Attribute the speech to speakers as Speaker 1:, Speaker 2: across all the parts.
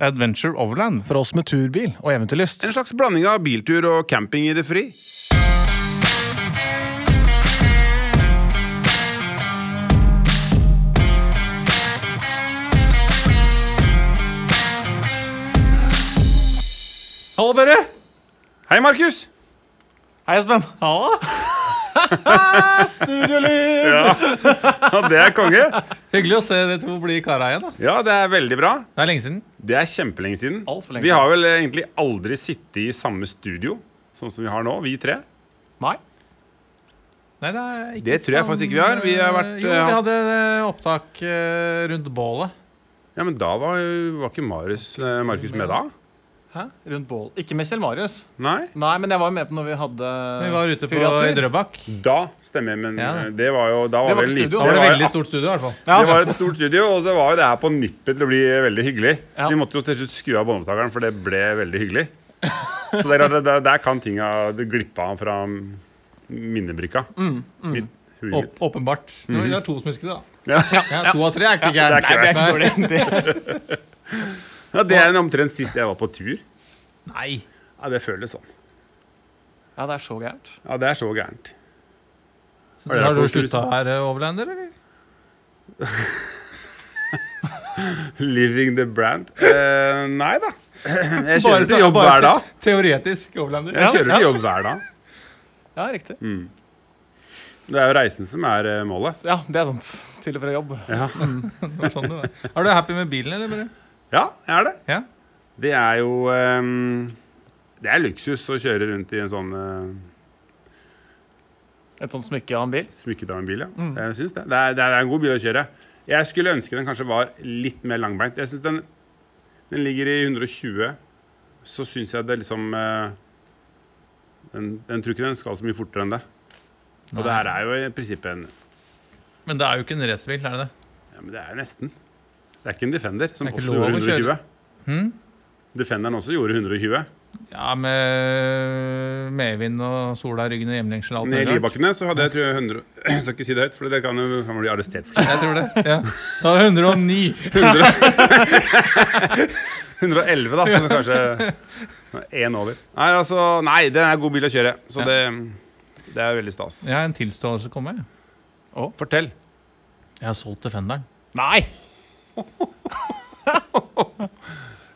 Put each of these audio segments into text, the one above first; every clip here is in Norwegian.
Speaker 1: Adventure Overland.
Speaker 2: For oss med turbil og eventyrlyst.
Speaker 3: En slags blanding av biltur og camping i det fri.
Speaker 1: Hallo, Børre!
Speaker 3: Hei, Markus!
Speaker 1: Hei, Espen. Hallo. Studiolyd!
Speaker 3: Ja, det er konge.
Speaker 1: Hyggelig å se dere to bli kara igjen. ass.
Speaker 3: Ja, det er veldig bra.
Speaker 1: Det er lenge siden.
Speaker 3: Det er kjempelenge siden.
Speaker 1: Alt for lenge
Speaker 3: Vi har vel egentlig aldri sittet i samme studio sånn som vi har nå, vi tre.
Speaker 1: Nei. Nei, det er ikke
Speaker 3: Det tror jeg
Speaker 1: sånn,
Speaker 3: faktisk ikke vi har. Vi har vært,
Speaker 1: Jo,
Speaker 3: eh,
Speaker 1: vi hadde eh, opptak eh, rundt bålet.
Speaker 3: Ja, men da var, var ikke Marius, eh, Markus med da?
Speaker 4: Hæ? Rundt bål. Ikke med Kjell Marius.
Speaker 3: Nei?
Speaker 4: Nei, men jeg var jo med på når vi hadde
Speaker 1: Vi
Speaker 3: Eh,
Speaker 1: var ute på,
Speaker 4: Hurratur.
Speaker 1: i Drøbak.
Speaker 3: Da stemmer jeg, men
Speaker 1: Ja.
Speaker 3: eh, det var jo Da var
Speaker 4: var
Speaker 3: vi en
Speaker 4: ikke
Speaker 3: liten
Speaker 4: studio,
Speaker 1: Da var det
Speaker 3: var-
Speaker 1: veldig stort studio, i hvert fall.
Speaker 3: Det var et stort studio, og det var jo det her på nippet til å bli veldig hyggelig.
Speaker 4: Ja.
Speaker 3: Så vi måtte jo til slutt skru av båndopptakeren, for det ble veldig hyggelig. Så der, der, der, der kan tinga glippe av fra minnebrykka. Mitt, huet
Speaker 1: Åp-
Speaker 3: mitt.
Speaker 1: åpenbart. Det er to som husker det, da.
Speaker 3: Mhm. Ja.
Speaker 1: Ja, to av tre er ikke
Speaker 3: det er
Speaker 1: gærent.
Speaker 3: ikke verst.
Speaker 1: Nei.
Speaker 3: Ja, det er omtrent sist jeg var på tur.
Speaker 1: Nei.
Speaker 3: Ja, Det føles sånn.
Speaker 4: Ja, det er så gærent.
Speaker 3: Ja, Det er så gærent. Var dere
Speaker 1: Har du
Speaker 3: på tur,
Speaker 1: slutta å være overlander, eller?
Speaker 3: Living the brand. Eh, nei da. Jeg
Speaker 1: Bare
Speaker 3: kjører til
Speaker 1: sa-
Speaker 3: jobb
Speaker 1: bare
Speaker 3: hver dag.
Speaker 1: te- Teoretisk overlander.
Speaker 3: Jeg kjører til jobb hver dag.
Speaker 4: Ja, riktig.
Speaker 3: Det er jo reisen som er eh, målet.
Speaker 4: Ja, det er sant. Til og fra jobb.
Speaker 3: Ja,
Speaker 1: Det var Sånn det var. er du happy med bilen, eller? Børre?
Speaker 3: ja jeg er det.
Speaker 1: Ja.
Speaker 3: Det er jo ehm, Det er luksus å kjøre rundt i en sånn eh,
Speaker 4: Et sånt smykke av en bil.
Speaker 3: smykket av en bil, ja.
Speaker 1: Mm.
Speaker 3: Jeg syns det. Det er, det er en god bil å kjøre. Jeg skulle ønske den kanskje var litt mer langbeint. Jeg synes den, den ligger i 120. Så syns jeg det liksom eh, den, den tror ikke den skal så mye fortere enn det. Og det her er jo i prinsippet en
Speaker 1: Men det er jo ikke en racerbil, er det det?
Speaker 3: Ja, men det er nesten. Det er ikke en Defender som
Speaker 1: Det er ikke
Speaker 3: også
Speaker 1: lov å
Speaker 3: gjorde 120.
Speaker 1: kjøre. Hm?
Speaker 3: Defenderen også gjorde 120.
Speaker 1: Ja, med medvind og sola i ryggen og hjemlengsel og alt
Speaker 3: Nede i
Speaker 1: mulig rart.
Speaker 3: Libakkene så hadde jeg tror jeg 100 Jeg skal ikke si det høyt, for det kan jo kan man bli arrestert for.
Speaker 1: Jeg tror det. Ja. Da er det 109.
Speaker 3: 100 111, da, så det kanskje én over. Nei, altså, nei, det er god bil å kjøre, så
Speaker 1: Ja.
Speaker 3: det, det er veldig stas.
Speaker 1: Jeg har en tilståelse å komme med.
Speaker 3: Fortell.
Speaker 1: Jeg har solgt Defenderen.
Speaker 4: Nei!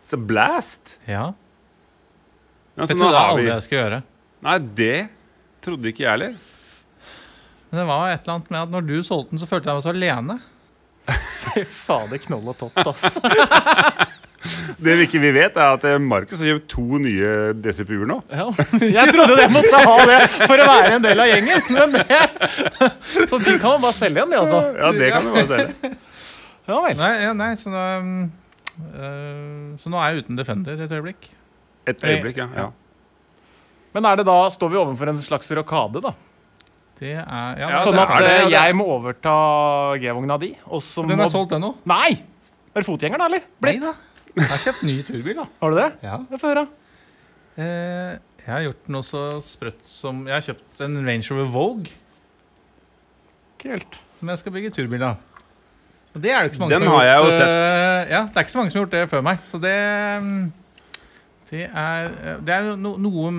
Speaker 3: Så blast!
Speaker 1: Ja.
Speaker 3: Ja, så
Speaker 1: Jeg
Speaker 3: nå
Speaker 1: trodde
Speaker 3: har
Speaker 1: aldri
Speaker 3: vi-
Speaker 1: jeg skulle gjøre.
Speaker 3: Nei, det trodde ikke jeg heller.
Speaker 1: Men det var et eller annet med at når du solgte den, så følte jeg meg så alene.
Speaker 4: Fy fader, knoll og tott, ass.
Speaker 3: Det vi ikke vi vet, er at eh, Markus har kjøpt to nye DCP-er nå.
Speaker 4: Ja. Jeg trodde jeg måtte ha det for å være en del av gjengen, men det Så de kan man bare selge igjen, de, altså.
Speaker 3: Ja, det kan du bare selge.
Speaker 4: Ja vel.
Speaker 1: Nei, ja, nei så, da, mm, øh, så nå er jeg uten Defender et øyeblikk.
Speaker 3: Et øyeblikk, ja. ja.
Speaker 4: Men er det da, står vi overfor en slags rokade, da?
Speaker 1: Det er Ja,
Speaker 3: Ja,
Speaker 4: sånn
Speaker 3: det
Speaker 4: at
Speaker 3: er det,
Speaker 4: eh,
Speaker 3: ja, det-
Speaker 4: jeg må overta G-vogna di, og så må
Speaker 1: den er solgt, den òg.
Speaker 4: Nei! Er du fotgjenger, da, eller? Blitt?
Speaker 1: Nei da. Jeg har kjøpt ny turbil, da.
Speaker 4: Har du det?
Speaker 1: Ja.
Speaker 4: Jeg får høre.
Speaker 1: Eh, jeg har gjort noe så sprøtt som Jeg har kjøpt en Range Rover Vogue
Speaker 4: Kult.
Speaker 1: som jeg skal bygge turbil av. Og det er det ikke så mange
Speaker 3: Den
Speaker 1: som
Speaker 3: har jeg jo
Speaker 1: gjort,
Speaker 3: sett.
Speaker 1: eh, ja, det er ikke så mange som har gjort det før meg. Så det mm, Det er, eh, det er jo no, noe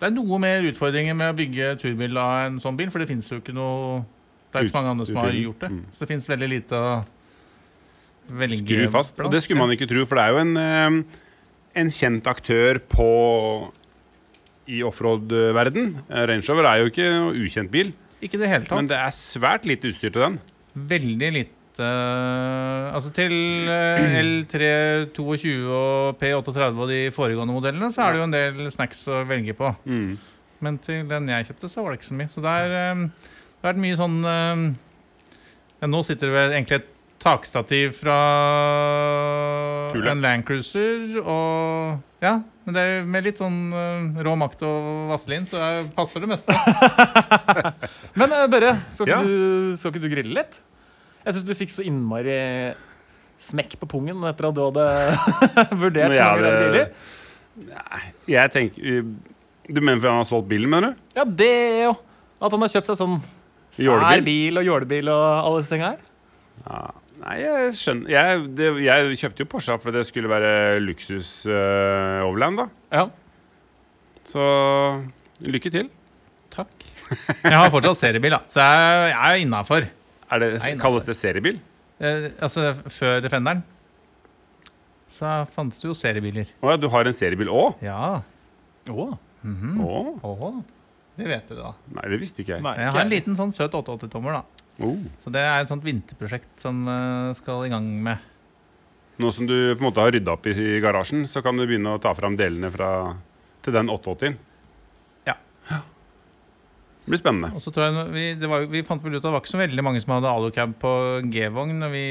Speaker 1: Det er noe mer utfordringer med å bygge turbil av en sånn bil, for det fins jo ikke noe Det er ikke så mange andre som har
Speaker 3: Utstyr.
Speaker 1: gjort det.
Speaker 3: Mm.
Speaker 1: Så det fins veldig lite å velge
Speaker 3: Skru fast. Og
Speaker 1: blant.
Speaker 3: det skulle man ikke tro, for det er jo en, eh, en kjent aktør på i offroad-verden. Eh, Range Rover er jo ikke noe ukjent bil,
Speaker 1: Ikke i det hele tatt.
Speaker 3: men det er svært lite utstyr til den.
Speaker 1: Veldig lite eh, Altså til eh, L322 og P38 og de foregående modellene, så er det jo en del snacks å velge på.
Speaker 3: Mm.
Speaker 1: Men til den jeg kjøpte, så var det ikke så mye. Så det er, eh, det har vært mye sånn eh, ja, Nå sitter det vel egentlig et takstativ fra
Speaker 3: Kule.
Speaker 1: en Land Cruiser og Ja, men det er jo med litt sånn eh, rå makt og vaselin, så det passer det meste.
Speaker 4: Men eh, Børre, skal ikke,
Speaker 3: Ja.
Speaker 4: du, skal ikke du grille litt? Jeg syns du fikk så innmari smekk på pungen etter at du hadde
Speaker 3: Når
Speaker 4: vurdert så
Speaker 3: jeg
Speaker 4: mange
Speaker 3: hadde-
Speaker 4: biler.
Speaker 3: Jeg tenker uh, Du mener fordi han har solgt bilen, mener du?
Speaker 4: Ja, det jo. At han har kjøpt seg sånn sær
Speaker 3: Jålebil?
Speaker 4: bil og jålebil og alle disse tinga her.
Speaker 3: Nei, jeg skjønner jeg, det, jeg kjøpte jo Porsche fordi det skulle være luksus eh, overland, da.
Speaker 4: Ja.
Speaker 3: Så lykke til.
Speaker 1: Takk. Jeg har fortsatt seriebil, da, så jeg, jeg er innafor.
Speaker 3: Er det,
Speaker 1: Nei, nei.
Speaker 3: kalles det seriebil?
Speaker 1: Eh, altså, før Defenderen så fantes det jo seriebiler.
Speaker 3: Å ja, du har en seriebil òg?
Speaker 1: Ja.
Speaker 4: Å,
Speaker 1: Mm.
Speaker 3: Å,
Speaker 1: Åh, det vet du, da.
Speaker 3: Nei, det visste ikke jeg.
Speaker 4: nei,
Speaker 1: Jeg
Speaker 4: ikke
Speaker 1: har en liten sånn søt 88-tommer, da.
Speaker 3: Oh.
Speaker 1: Så det er et sånt vinterprosjekt som eh, skal i gang med.
Speaker 3: Nå som du på en måte har rydda opp i, i garasjen, så kan du begynne å ta fram delene fra, til den 88-en.
Speaker 1: Ja.
Speaker 3: Det blir spennende.
Speaker 1: Og så tror jeg no- vi, det var, jo- vi fant vel ut at det var ikke så veldig mange som hadde alocab på G-vogn når vi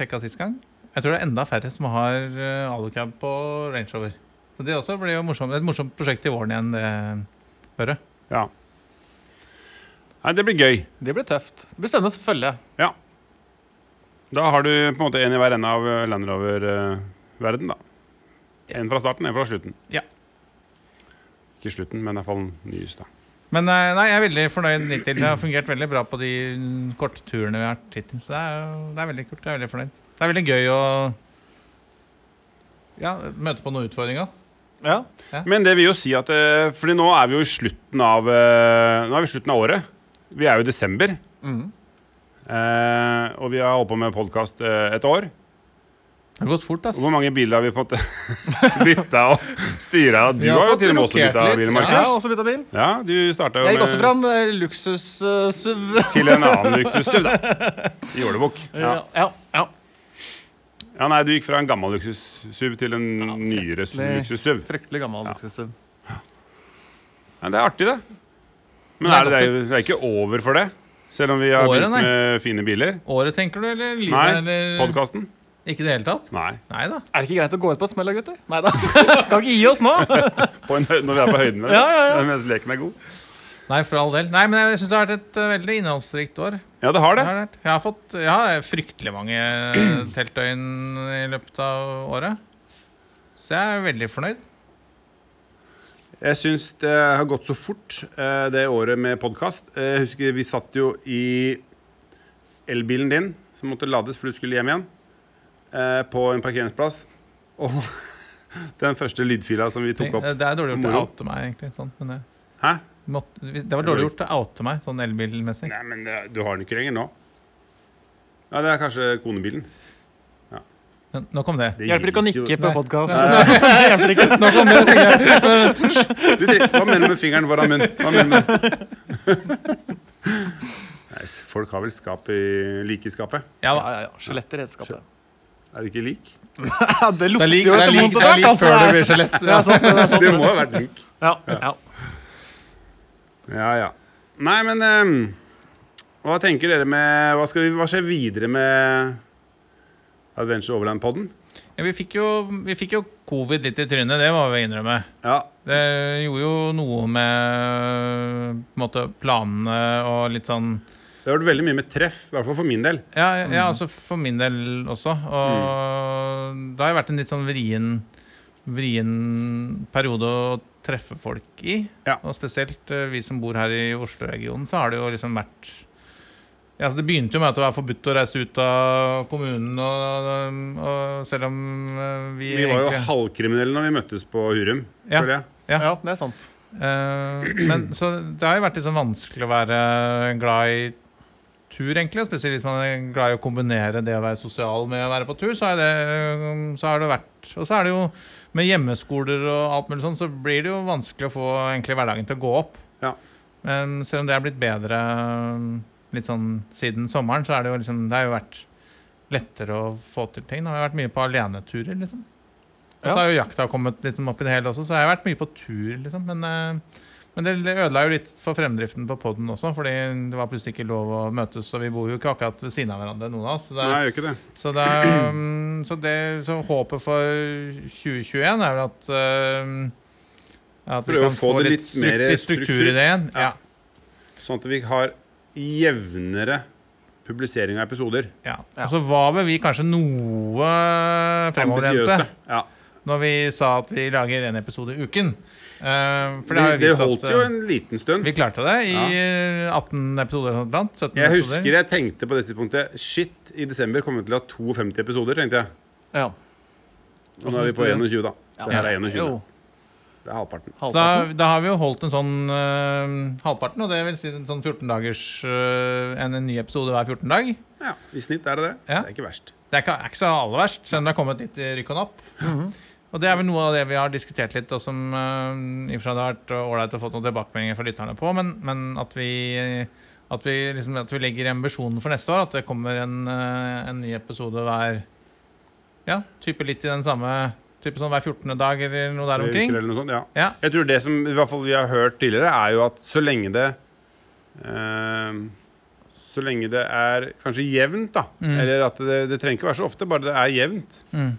Speaker 1: sjekka sist gang. Jeg tror det er enda færre som har eh, alocab på Range Rover. Så det også blir jo morsomt. Det er Et morsomt prosjekt i våren igjen, det, Børre.
Speaker 3: Ja. Nei, det blir gøy.
Speaker 4: Det blir tøft. Det blir spennende å følge.
Speaker 3: Ja. Da har du på en måte en i hver ende av eh, Land Rover-verden, da.
Speaker 1: Ja.
Speaker 3: En fra starten, en fra slutten.
Speaker 1: Ja.
Speaker 3: Ikke slutten, men iallfall nyest, da.
Speaker 1: Men eh, nei, jeg er veldig fornøyd hittil. Det har fungert veldig bra på de kortturene vi har vært hittil. Så det er, jo- det er veldig kult. Jeg er veldig fornøyd. Det er veldig gøy å ja, møte på noen utfordringer.
Speaker 4: Ja.
Speaker 3: Men det vil jo si at eh, Fordi nå er vi jo i slutten av eh, Nå er vi i slutten av året. Vi er jo i desember.
Speaker 1: Mm.
Speaker 3: Eh, og vi har holdt på med podkast et år.
Speaker 1: Det har gått fort, ass.
Speaker 3: Hvor mange biler har vi fått bytta og styra? Du
Speaker 1: Vi har
Speaker 3: har jo
Speaker 1: fått
Speaker 3: til og med også
Speaker 1: rokert
Speaker 3: bytta
Speaker 1: litt,
Speaker 3: bil,
Speaker 1: ja. altså.
Speaker 4: Jeg har
Speaker 3: Markus.
Speaker 4: også bytta bil.
Speaker 3: Ja, du starta
Speaker 4: Jeg
Speaker 3: jo
Speaker 4: gikk også fra en eh, luksus eh, SUV.
Speaker 3: til en annen luksussuv, da. I Ålebukk. Ja.
Speaker 4: Ja. ja, ja.
Speaker 3: ja, nei, du gikk fra en gammel luksussuv til en nyere
Speaker 4: fryktelig.
Speaker 3: luksussuv.
Speaker 4: Fryktelig gammel luksus-SUV.
Speaker 3: Ja, det er artig, det. Men
Speaker 1: Det er
Speaker 3: er det, det, er, jo- det er ikke over for det? Selv om vi har
Speaker 1: Året,
Speaker 3: begynt
Speaker 1: nei.
Speaker 3: med fine biler?
Speaker 1: Året, tenker du, eller livet?
Speaker 3: Nei.
Speaker 1: eller...
Speaker 3: Podkasten?
Speaker 1: Ikke i det hele tatt?
Speaker 3: Nei.
Speaker 1: Nei da.
Speaker 4: Er det ikke greit å gå ut på et smell da, gutter? Nei da. Kan ikke gi oss nå.
Speaker 3: På en, høy- når vi er på høyden med det.
Speaker 4: Ja, ja,
Speaker 3: Mens leken er god.
Speaker 1: Nei, for all del. Nei, men jeg syns det har vært et eh, veldig innholdsrikt år.
Speaker 3: Ja, det har
Speaker 1: Det
Speaker 3: det.
Speaker 1: har det vært. Jeg har fått jeg har fryktelig mange eh, teltdøgn i løpet av året. Så jeg er veldig fornøyd.
Speaker 3: Jeg syns det har gått så fort, eh, det året med podkast. Jeg husker vi satt jo i elbilen din, som måtte lades for du skulle hjem igjen, eh, på en parkeringsplass. Og den første lydfila som vi tok opp.
Speaker 4: eh,
Speaker 1: Det er dårlig
Speaker 3: som
Speaker 1: gjort å
Speaker 3: moro.
Speaker 1: oute meg, egentlig. Sånn. Men det,
Speaker 3: Hæ?
Speaker 1: måtte, det var dårlig gjort å oute meg sånn elbilmessig.
Speaker 3: Nei, men det, du har den ikke lenger nå. Ja, det er kanskje konebilen.
Speaker 1: Men Nå kom det.
Speaker 3: Det
Speaker 4: Hjelper ikke å
Speaker 3: gis jo-
Speaker 4: nikke
Speaker 1: Nei.
Speaker 4: på podkast.
Speaker 3: Du drikker, hva mener du med fingeren foran munnen? Hva mener du med? Nei, s- folk har vel skap i like i skapet.
Speaker 4: Ja,
Speaker 1: Ja da.
Speaker 4: ja, ja. Skjelett i redskapet.
Speaker 3: Er det ikke lik?
Speaker 4: Ja, det
Speaker 1: Det
Speaker 4: lukter
Speaker 1: er lik,
Speaker 4: jo
Speaker 1: det er
Speaker 4: etter
Speaker 1: lik,
Speaker 4: vondt
Speaker 1: det er
Speaker 4: etter
Speaker 1: lik
Speaker 4: hvert.
Speaker 1: før det
Speaker 4: altså.
Speaker 1: blir skjelett.
Speaker 4: Det er sant,
Speaker 1: Altså,
Speaker 4: det er sant.
Speaker 3: Det må ha vært lik.
Speaker 4: Ja, ja.
Speaker 3: Ja, ja. Nei, men ehm, hva tenker dere med Hva, skal vi, hva skjer videre med Adventure Overland-podden?
Speaker 1: Ja, vi, fikk jo, vi fikk jo covid litt i trynet, det må vi innrømme.
Speaker 3: Ja.
Speaker 1: Det gjorde jo noe med på en måte, planene og litt sånn
Speaker 3: Det har vært veldig mye med treff, i hvert fall for min del.
Speaker 1: Ja, ja
Speaker 3: Mm.
Speaker 1: altså for min del også. Og
Speaker 3: Mm.
Speaker 1: det har jo vært en litt sånn vrien, vrien periode å treffe folk i.
Speaker 3: Ja.
Speaker 1: Og spesielt eh, vi som bor her i Oslo-regionen, så har det jo liksom vært ja, altså Det begynte jo med at det var forbudt å reise ut av kommunen, og, og selv om eh, vi,
Speaker 3: Vi var jo
Speaker 1: egentlig-
Speaker 3: halvkriminelle når vi møttes på Hurum.
Speaker 1: Ja.
Speaker 3: føler jeg.
Speaker 1: Ja.
Speaker 4: ja, det er sant.
Speaker 1: Eh, men så det har jo vært litt sånn vanskelig å være glad i tur, egentlig. og Spesielt hvis man er glad i å kombinere det å være sosial med å være på tur. Så er det, eh, så har det vært Og så er det jo med hjemmeskoler og alt mulig sånn, så blir det jo vanskelig å få egentlig hverdagen til å gå opp.
Speaker 3: Ja.
Speaker 1: Men selv om det er blitt bedre eh, litt sånn siden sommeren, så er det jo liksom Det har jo vært lettere å få til ting. Det har jo vært mye på aleneturer, liksom. Og så
Speaker 4: Ja.
Speaker 1: har jo jakta kommet litt opp i det hele også, så jeg har vært mye på tur, liksom. Men, eh, men det ødela jo litt for fremdriften på poden også, fordi det var plutselig ikke lov å møtes, og vi bor jo ikke akkurat ved siden av hverandre, noen av oss. Så det,
Speaker 3: Nei, jeg gjør ikke det.
Speaker 1: så, det, er, um, så, det, så håpet for 2021 er vel at eh, at vi
Speaker 3: Prøve å
Speaker 1: kan få
Speaker 3: få det
Speaker 1: litt,
Speaker 3: litt mer
Speaker 1: stru- litt struktur i
Speaker 3: struktur.
Speaker 1: det igjen.
Speaker 3: Ja.
Speaker 1: Ja.
Speaker 3: Sånn at vi har jevnere publisering av episoder.
Speaker 1: Ja. Og så var vel vi kanskje noe fremoverlente.
Speaker 3: Ambisiøse. Ja.
Speaker 1: når vi sa at vi lager en episode i uken. Eh, for det
Speaker 3: Det,
Speaker 1: har jo
Speaker 3: det
Speaker 1: vist
Speaker 3: holdt
Speaker 1: at
Speaker 3: jo
Speaker 1: eh,
Speaker 3: en liten stund.
Speaker 1: vi klarte det i eh, 18 episoder eller noe sånt. 17
Speaker 3: Jeg
Speaker 1: episoder.
Speaker 3: husker jeg tenkte på det tidspunktet Shit, i desember kommer vi til å ha 52 episoder, tenkte jeg.
Speaker 4: Ja.
Speaker 3: Og nå er vi på 21, da. Det her er 21.
Speaker 4: Jo,
Speaker 3: Det er halvparten.
Speaker 1: Så da,
Speaker 4: halvparten.
Speaker 1: da har vi jo holdt en sånn eh, halvparten, og det vil si en sånn 14 dagers eh, en, en ny episode hver 14 dag.
Speaker 3: Ja, I snitt er det det. Det
Speaker 1: Ja.
Speaker 3: er ikke verst.
Speaker 1: Det er ikke, er ikke så aller verst, selv om det har kommet litt i rykk og napp. Og det er vel noe av det vi har diskutert litt, og som eh, i og for seg det har vært ålreit å få noen tilbakemeldinger fra lytterne på, men, men at vi at vi, liksom, at vi legger ambisjonen for neste år, at det kommer en, eh, en ny episode hver Ja, type litt i den samme type sånn hver 14. dag eller noe
Speaker 3: Tre
Speaker 1: der omkring.
Speaker 3: uker eller noe sånt, ja.
Speaker 1: Ja.
Speaker 3: Jeg tror det som i hvert fall vi har hørt tidligere, er jo at så lenge det eh, Så lenge det er kanskje jevnt, da, eller at det, det trenger ikke være så ofte, bare det er jevnt.
Speaker 1: Mm.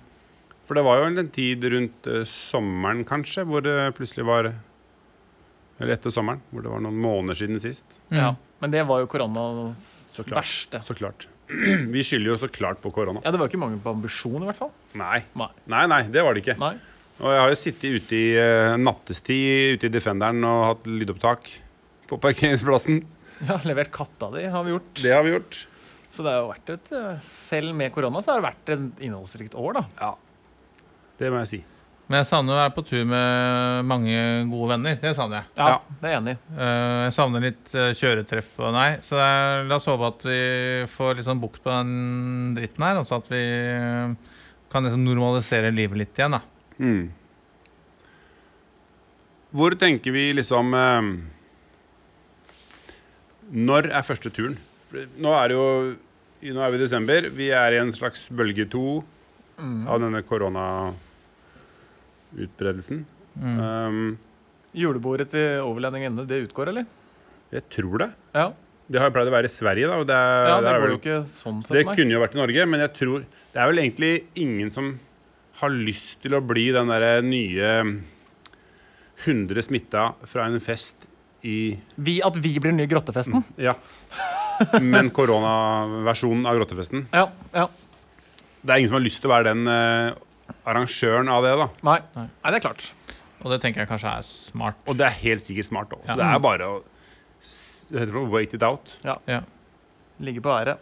Speaker 3: For det var jo en tid rundt eh, sommeren, kanskje, hvor det plutselig var Eller etter sommeren, hvor det var noen måneder siden sist.
Speaker 4: Ja.
Speaker 1: mm.
Speaker 4: Men det var jo koronas
Speaker 3: klart.
Speaker 4: verste.
Speaker 3: Så klart. Vi skylder jo så klart på korona.
Speaker 4: Ja, det var jo ikke mangel på ambisjon, i hvert fall.
Speaker 3: Nei.
Speaker 4: Nei.
Speaker 3: Nei, nei, det var det ikke.
Speaker 4: Nei.
Speaker 3: Og jeg har jo sittet ute i eh, nattestid ute i Defenderen og hatt lydopptak på parkeringsplassen.
Speaker 4: Ja, levert katta di, har vi gjort.
Speaker 3: Det har vi gjort.
Speaker 4: Så det har jo vært et eh, Selv med korona så har det vært et innholdsrikt år, da.
Speaker 3: Det må jeg si.
Speaker 1: Men jeg savner å være på tur med mange gode venner. Det savner jeg.
Speaker 4: Ja,
Speaker 3: Ja.
Speaker 4: Det er jeg enig i.
Speaker 1: Eh, jeg savner litt eh, kjøretreff og nei. Så det er, la oss håpe at vi får litt sånn bukt på den dritten her. Altså at vi eh, kan liksom normalisere livet litt igjen, da.
Speaker 3: Mm. Hvor tenker vi liksom eh, Når er første turen? For Nå er det jo Nå er vi i desember. Vi er i en slags bølge to
Speaker 4: Mm.
Speaker 3: av denne koronautbredelsen.
Speaker 4: Mm.
Speaker 3: Um,
Speaker 4: Julebordet til Overlending ende, det utgår, eller?
Speaker 3: jeg tror det.
Speaker 4: Ja.
Speaker 3: Det har jo pleid å være i Sverige, da. Og Eh, det, er,
Speaker 4: ja
Speaker 3: der
Speaker 4: det
Speaker 3: er vel-
Speaker 4: går jo ikke sånn sett,
Speaker 3: Det
Speaker 4: nei.
Speaker 3: kunne jo vært i Norge, men jeg tror Det er vel egentlig ingen som har lyst til å bli den derre nye 100 smitta fra en fest i
Speaker 4: Vi, at vi blir den nye grottefesten?
Speaker 3: Ja. Men koronaversjonen av grottefesten.
Speaker 4: Ja. ja.
Speaker 3: Det er ingen som har lyst til å være den eh, arrangøren av det, da.
Speaker 4: Nei.
Speaker 1: Nei.
Speaker 4: Nei. det er klart.
Speaker 1: Og det tenker jeg kanskje er smart.
Speaker 3: Og det er helt sikkert smart. da. Så
Speaker 1: Ja.
Speaker 3: det er bare å s- hva heter det for noe? wait it out.
Speaker 1: Ja.
Speaker 4: Ligge på været.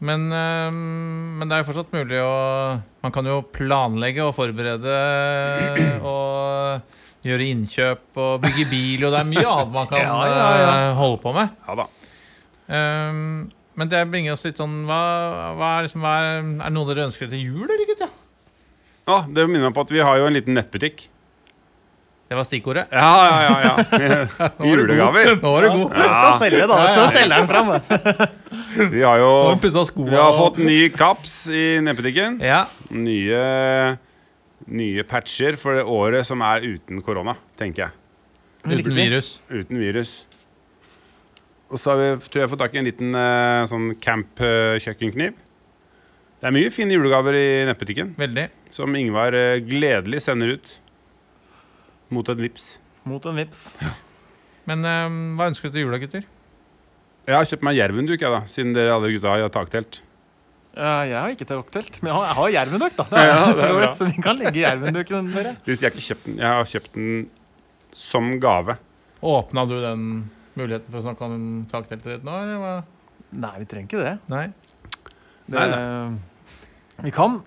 Speaker 1: Men, eh, men det er jo fortsatt mulig å Man kan jo planlegge og forberede og gjøre innkjøp og bygge bil, og det er mye annet man kan
Speaker 4: Ja, ja, ja.
Speaker 1: eh, holde på med.
Speaker 3: Ja da.
Speaker 1: Ehm, men det bringer oss litt sånn Hva, hva er, liksom, hva er, er det noe dere ønsker til jul, eller, gutta?
Speaker 3: Ja, det minner meg på at vi har jo en liten nettbutikk.
Speaker 1: Det var stikkordet.
Speaker 3: Ja, ja, ja. ja. Julegaver.
Speaker 1: Nå var du god.
Speaker 3: Ja.
Speaker 4: Skal selge, da.
Speaker 1: Ja,
Speaker 4: vet du.
Speaker 1: ja,
Speaker 4: Så selger den fram. vet du.
Speaker 3: Vi har jo
Speaker 1: Nå har du pussa skoene
Speaker 3: Vi har
Speaker 1: og-
Speaker 3: fått ny kaps i nettbutikken.
Speaker 1: Ja.
Speaker 3: Nye, nye patcher for det året som er uten korona, tenker jeg.
Speaker 1: Uten virus.
Speaker 3: Uten virus. Og så har vi tror jeg, fått tak i en liten eh, sånn camp-kjøkkenkniv. Det er mye fine julegaver i nettbutikken
Speaker 1: Veldig.
Speaker 3: som Ingvar eh, gledelig sender ut mot en vips.
Speaker 4: Mot en vips.
Speaker 1: Men ehm, hva ønsker du til jula, gutter?
Speaker 3: Jeg har kjøpt meg jervenduk, jeg, da, siden dere alle gutta har taktelt.
Speaker 4: Ja, jeg har ikke takoktelt, men jeg har, jeg har jervenduk, da. Det er,
Speaker 3: det er
Speaker 4: for så
Speaker 3: bra.
Speaker 4: vidt, så vi kan legge jervenduken dere.
Speaker 3: Det vil si, jeg har ikke kjøpt den. Jeg har kjøpt den som gave.
Speaker 1: Åpna du den muligheten for å snakke om takteltet ditt nå, eller hva?
Speaker 4: Nei, vi trenger ikke det.
Speaker 1: Nei?
Speaker 4: det Vi kan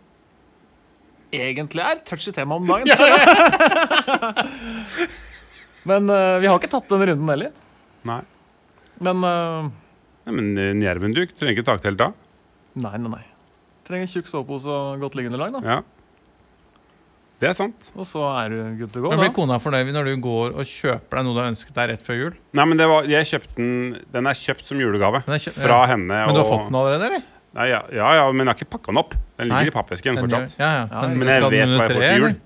Speaker 4: Egentlig er touchy tema om dagen. Men eh, vi har ikke tatt den runden heller.
Speaker 3: Nei.
Speaker 4: Men eh,
Speaker 3: Nei, men en jervenduk trenger ikke taktelt da.
Speaker 4: nei, nei, nei. Trenger tjukk sovepose og godt liggeunderlag, da.
Speaker 3: Ja. Det er sant.
Speaker 4: Og så er du good to go.
Speaker 1: Men blir
Speaker 4: Da.
Speaker 1: kona fornøyd når du går og kjøper deg noe du har ønsket deg rett før jul?
Speaker 3: Nei, men det var, jeg kjøpte den Den er kjøpt som julegave
Speaker 1: Den er kjøpt-
Speaker 3: fra
Speaker 1: ja.
Speaker 3: henne.
Speaker 1: Men du har
Speaker 3: og-
Speaker 1: fått den allerede, eller?
Speaker 3: Nei, ja, ja, ja, men jeg har ikke pakka den opp. Den ligger
Speaker 1: Nei.
Speaker 3: i pappesken
Speaker 1: Den
Speaker 3: fortsatt.
Speaker 1: gjør- Ja, ja.
Speaker 4: Ja,
Speaker 3: Men jeg
Speaker 1: skal den
Speaker 3: vet
Speaker 1: under
Speaker 3: hva jeg får
Speaker 1: treet,
Speaker 3: til
Speaker 1: eller?
Speaker 3: jul.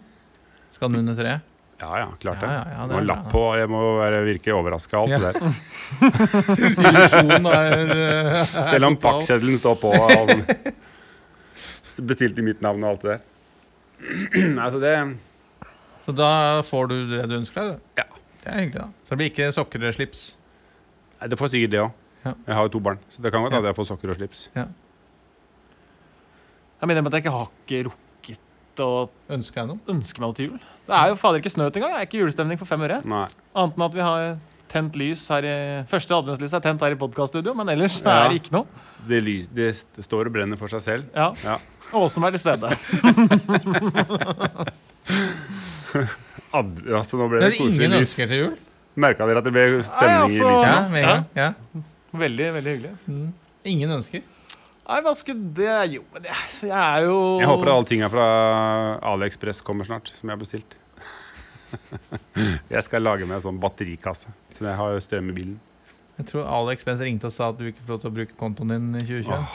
Speaker 1: Skal den under treet?
Speaker 3: Ja, ja, klart det.
Speaker 1: Ja, ja, ja,
Speaker 3: det må
Speaker 1: det er
Speaker 3: ha
Speaker 1: bra,
Speaker 3: lapp
Speaker 1: da.
Speaker 3: på, jeg må være, virke overraska og alt
Speaker 1: Ja.
Speaker 3: det der.
Speaker 1: Illusjonen er eh,
Speaker 3: Selv om
Speaker 1: total.
Speaker 3: pakkseddelen står på. Og den, bestilt i mitt navn og alt det der. Nei, så det
Speaker 1: Så da får du det du ønsker deg, du?
Speaker 3: Ja.
Speaker 1: Det er hyggelig, da. Så det blir ikke sokker eller slips?
Speaker 3: Nei, det får sikkert det òg.
Speaker 1: Ja.
Speaker 3: Jeg har jo to barn, så det kan godt
Speaker 1: Ja.
Speaker 3: hende jeg får sokker og slips.
Speaker 4: Jeg mener at jeg ikke har ikke rukket sitte og
Speaker 1: Ønsker jeg noe?
Speaker 4: ønske meg noe til jul. Det er jo fader ikke snø ute engang. Det er ikke julestemning for fem øre.
Speaker 3: Nei.
Speaker 4: Annet enn at vi har tent lys her i Første adventslys er tent her i podcaststudio, men ellers
Speaker 3: Ja.
Speaker 4: er det ikke noe.
Speaker 3: Det, lys, det st- står og brenner for seg selv.
Speaker 4: Ja.
Speaker 3: Ja.
Speaker 4: Og som er til stede.
Speaker 3: Ad, altså, nå ble det
Speaker 1: Det er
Speaker 3: koselig
Speaker 1: ingen
Speaker 3: lys.
Speaker 1: ønsker til jul.
Speaker 3: Merka dere at det ble stemning
Speaker 4: Nei, altså-
Speaker 3: i lyset?
Speaker 1: Ja,
Speaker 4: nå?
Speaker 1: med en gang. Ja.
Speaker 4: Veldig, veldig hyggelig.
Speaker 1: Ingen ønsker.
Speaker 4: Nei, hva skulle det Jo, men jeg, jeg er jo
Speaker 3: Jeg håper alle tinga fra AliExpress kommer snart, som jeg har bestilt. jeg skal lage meg en sånn batterikasse som jeg har strøm i bilen.
Speaker 1: Jeg tror Alex Benz ringte og sa at du ikke får lov til å bruke kontoen din i 2021.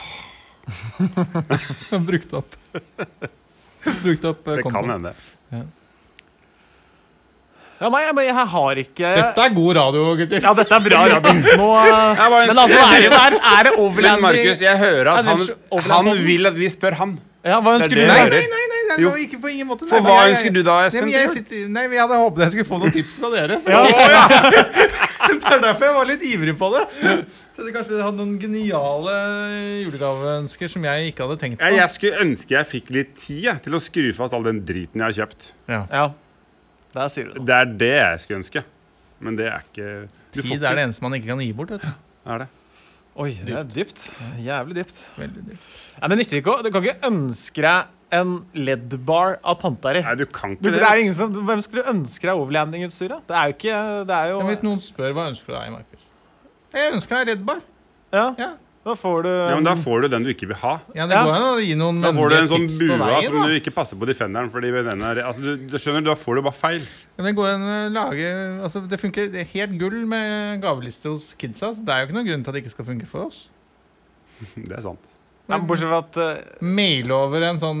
Speaker 1: Han brukte opp Brukte opp eh,
Speaker 3: Det kan
Speaker 1: kontoen.
Speaker 3: hende.
Speaker 4: Ja, nei, men jeg har ikke
Speaker 1: Dette er god radio, gutter.
Speaker 4: Ja, dette er bra, Robin. Nå eh,
Speaker 3: Jeg var
Speaker 4: Men altså, er det, er, er det overlanding?
Speaker 3: Men Markus, jeg hører
Speaker 4: Er
Speaker 3: at
Speaker 4: det
Speaker 3: han,
Speaker 4: en overlanding?
Speaker 3: han vil at vi spør han.
Speaker 4: Ja, hva
Speaker 3: Det er
Speaker 4: ønsker du?
Speaker 3: det
Speaker 1: Nei,
Speaker 4: deg?
Speaker 3: jeg
Speaker 1: nei,
Speaker 3: hører.
Speaker 1: nei, nei,
Speaker 3: Jo.
Speaker 1: nei ikke på ingen måte.
Speaker 3: For
Speaker 1: Nei,
Speaker 3: hva
Speaker 1: men jeg-
Speaker 3: ønsker du da,
Speaker 1: Nei,
Speaker 3: Espen?
Speaker 1: men jeg,
Speaker 3: til jul?
Speaker 1: sitter, nei, men jeg hadde håpet jeg skulle få noen tips fra dere. For
Speaker 4: Ja.
Speaker 1: Det er derfor jeg var litt ivrig på det. Så det kanskje dere hadde noen geniale julegaveønsker som jeg ikke hadde tenkt på.
Speaker 3: Jeg, jeg skulle ønske jeg fikk litt tid jeg, til å skru fast all den driten jeg har kjøpt.
Speaker 4: Ja, der sier du det.
Speaker 3: Det er det jeg skulle ønske. Men det er ikke du får
Speaker 1: Tid
Speaker 3: ikke-
Speaker 1: er det eneste man ikke kan gi bort. Vet du.
Speaker 3: Er det?
Speaker 4: Oi, det er dypt. Jævlig dypt.
Speaker 1: Veldig dyrt.
Speaker 4: Nei, men nytter ikke å Du kan ikke ønske deg en LED-bar av tanta di.
Speaker 3: Nei, du kan ikke
Speaker 4: Du,
Speaker 3: det.
Speaker 4: det er jo ingen som, hvem skulle ønske deg overlandingutstyr? da? Det er jo ikke det er
Speaker 1: Men hvis
Speaker 4: jo,
Speaker 1: noen spør hva ønsker du deg, Markus Jeg ønsker meg Red Bar.
Speaker 4: ja,
Speaker 1: Ja.
Speaker 4: Da får du
Speaker 3: Ja, men da får du den du ikke vil ha.
Speaker 1: Ja, det
Speaker 4: Ja.
Speaker 1: går an å gi noen
Speaker 3: Da får du
Speaker 1: vennlige
Speaker 3: en sånn
Speaker 1: tips på
Speaker 3: bua
Speaker 1: veien,
Speaker 3: som
Speaker 1: da.
Speaker 3: du ikke passer på defenderen. Fordi den er, altså, du, du skjønner, Da får du bare feil.
Speaker 1: Men det går an å lage Altså, det funker det er helt gull med gaveliste hos kidsa, så det er jo ikke noen grunn til at det ikke skal funke for oss.
Speaker 3: Det er sant.
Speaker 4: Nei, men Bortsett fra at eh,
Speaker 1: Mail over en sånn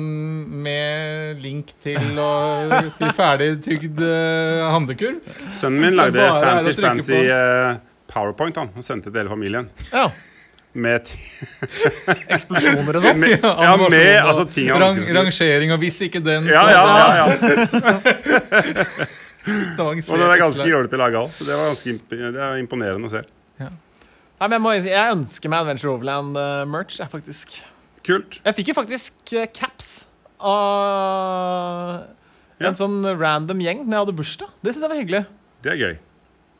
Speaker 1: med link til, og, til ferdig tygd eh, handlekurv.
Speaker 3: Sønnen min
Speaker 1: Det
Speaker 3: lagde
Speaker 1: er bare å
Speaker 3: fancy
Speaker 1: trykke på.
Speaker 3: spancy eh, powerpoint han, og sendte til hele familien.
Speaker 4: Ja,
Speaker 3: Med, ti-
Speaker 4: eksplosjoner og sånn.
Speaker 3: med, ja,
Speaker 1: animasjon
Speaker 3: med
Speaker 1: og
Speaker 3: altså, ting han
Speaker 1: rang,
Speaker 3: ønsket.
Speaker 1: Rangering, og hvis ikke den,
Speaker 3: Ja, ja, ja, ja.
Speaker 1: så
Speaker 3: Og den er ganske jålete laga òg, så det var ganske imp det er imponerende å se.
Speaker 4: Nei, men jeg, må, jeg ønsker meg Adventure Overland-merch, jeg, faktisk.
Speaker 3: Kult.
Speaker 4: Jeg fikk jo faktisk eh, caps av
Speaker 3: Ja.
Speaker 4: en sånn random gjeng når jeg hadde bursdag. Det syns jeg var hyggelig.
Speaker 3: Det er gøy.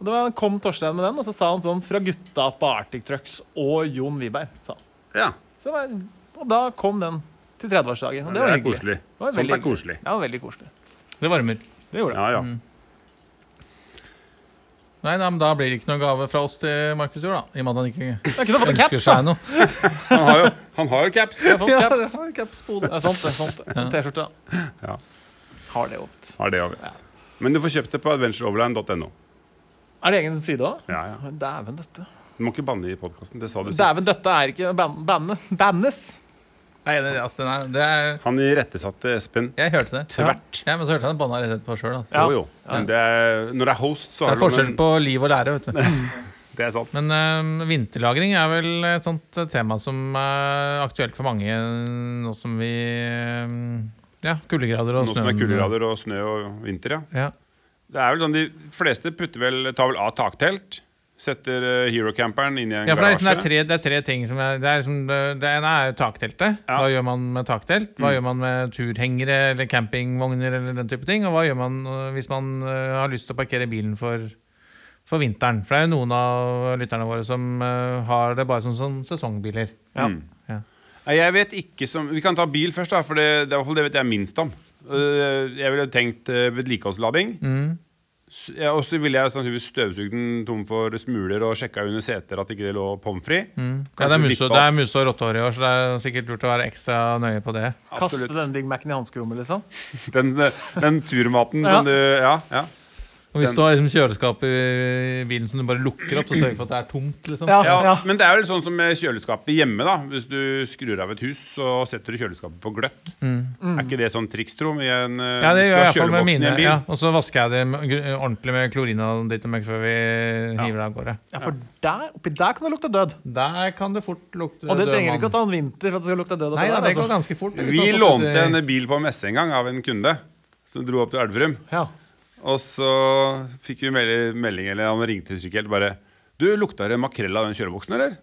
Speaker 4: Og det var, kom Torstein med den, og så sa han sånn fra gutta på Arctic Trucks og Jon Wiberg. Sa han.
Speaker 3: Ja,
Speaker 4: Så det var, og da kom den til 30-årsdagen. Og
Speaker 3: det,
Speaker 4: det var
Speaker 3: er
Speaker 4: hyggelig.
Speaker 3: koselig.
Speaker 4: Det var veldig
Speaker 3: Sånt er
Speaker 4: hyggelig.
Speaker 3: koselig.
Speaker 4: Det var veldig koselig.
Speaker 1: Det varmer.
Speaker 4: Det gjorde det.
Speaker 3: Ja, ja.
Speaker 1: Nei, da, men da blir det ikke noen gave fra oss til Markus i år, da. I og med at han ikke
Speaker 4: Jeg kunne fått en
Speaker 1: ønsker
Speaker 4: caps, da.
Speaker 1: seg noe.
Speaker 3: Han har jo, han har jo caps.
Speaker 4: Jeg har fått
Speaker 1: Ja,
Speaker 4: caps.
Speaker 1: det var caps på hodet.
Speaker 4: Det er sant, det er sant. En T-skjorte.
Speaker 3: Ja.
Speaker 4: Har det åpent.
Speaker 3: Har det, jeg vet. Men du får kjøpt det på adventureoverland.no.
Speaker 4: Er det egen side òg?
Speaker 3: Ja, ja.
Speaker 4: Dæven døtte.
Speaker 3: Du må ikke banne i podkasten. Det sa du sist.
Speaker 4: Dæven døtte er ikke ban banne. Bannes.
Speaker 1: Nei, det, altså, den er, det er
Speaker 3: Han irettesatte Espen
Speaker 1: Jeg hørte det.
Speaker 3: tvert.
Speaker 1: Ja, men så hørte jeg den banna rett etterpå sjøl. Altså.
Speaker 4: Ja.
Speaker 3: Jo, jo. Men det er, når det er host, så
Speaker 1: Det
Speaker 3: har
Speaker 1: er
Speaker 3: du
Speaker 1: forskjell på liv og lære, vet du.
Speaker 3: Det er sant.
Speaker 1: Men eh, vinterlagring er vel et sånt eh, tema som er aktuelt for mange eh, nå som vi eh, Ja, kuldegrader og
Speaker 3: Nå som det er
Speaker 1: snø.
Speaker 3: kuldegrader og snø og vinter, ja.
Speaker 1: Ja.
Speaker 3: Det er vel sånn, De fleste putter vel, tar vel av taktelt. Setter eh, Hero-camperen inn i en
Speaker 1: Ja, for det er, liksom, det, er
Speaker 3: garasje.
Speaker 1: tre, det er tre ting som er Det, er liksom, det det ene er takteltet.
Speaker 3: Ja. Mm.
Speaker 1: Hva gjør man med taktelt? Hva gjør man med turhengere eller campingvogner eller den type ting? Og hva gjør man øh, hvis man øh, har lyst til å parkere bilen for, for vinteren? For det er jo noen av lytterne våre som øh, har det bare som sånn sesongbiler.
Speaker 4: Ja.
Speaker 3: Nei, Jeg vet ikke som Vi kan ta bil først, da, for det, det er i hvert fall det vet jeg minst om. Eh, Jeg ville tenkt eh, vedlikeholdslading.
Speaker 1: Mm.
Speaker 3: S- ja, Og så ville jeg sannsynligvis støvsugd den tom for smuler og sjekka under seter at ikke det lå pommes frites.
Speaker 1: Mm. Ja, det, er
Speaker 3: Kanskje
Speaker 1: muse,
Speaker 3: vippa
Speaker 1: det er muse og rottehår i år, så det er sikkert lurt å være ekstra nøye på det.
Speaker 4: Kaste
Speaker 3: Absolutt.
Speaker 4: den Big Mac-en i hanskerommet, liksom.
Speaker 3: Den, øh, den turmaten
Speaker 4: Ja.
Speaker 3: som du Ja. ja.
Speaker 1: Og hvis du har liksom kjøleskap i bilen som du bare lukker opp, så sørg for at det er tomt. liksom
Speaker 3: ja, Men det er vel sånn som med kjøleskapet hjemme. da Hvis du skrur av et hus, så setter du kjøleskapet på gløtt. Er ikke det sånn triks, tro? med en, eh,
Speaker 1: Mm. Ja, det
Speaker 3: hvis du
Speaker 1: gjør jeg
Speaker 3: har
Speaker 1: i hvert fall med
Speaker 3: kjøleboksen i
Speaker 1: mine.
Speaker 3: en bil?
Speaker 1: Ja, og så vasker jeg det med, gru- ordentlig med klorin og ditt og møkk før vi hiver det av gårde.
Speaker 4: Ja, for der, oppi der kan det lukte død.
Speaker 1: Der kan det fort lukte
Speaker 4: Og det
Speaker 1: død
Speaker 4: trenger du ikke å
Speaker 1: mann.
Speaker 4: ta en vinter for at det skal lukte død. oppi
Speaker 1: Nei, da,
Speaker 4: der,
Speaker 1: det
Speaker 4: altså.
Speaker 1: går ganske fort. Det
Speaker 3: Vi
Speaker 1: kan fort
Speaker 3: lånte
Speaker 1: lukte-
Speaker 3: en bil på messe en gang av en kunde som dro opp til Elverum.
Speaker 4: Ja.
Speaker 3: Og så fikk vi mel- melding, eller han ringte sikkert bare du, lukta det makrell av den kjøleboksen, eller?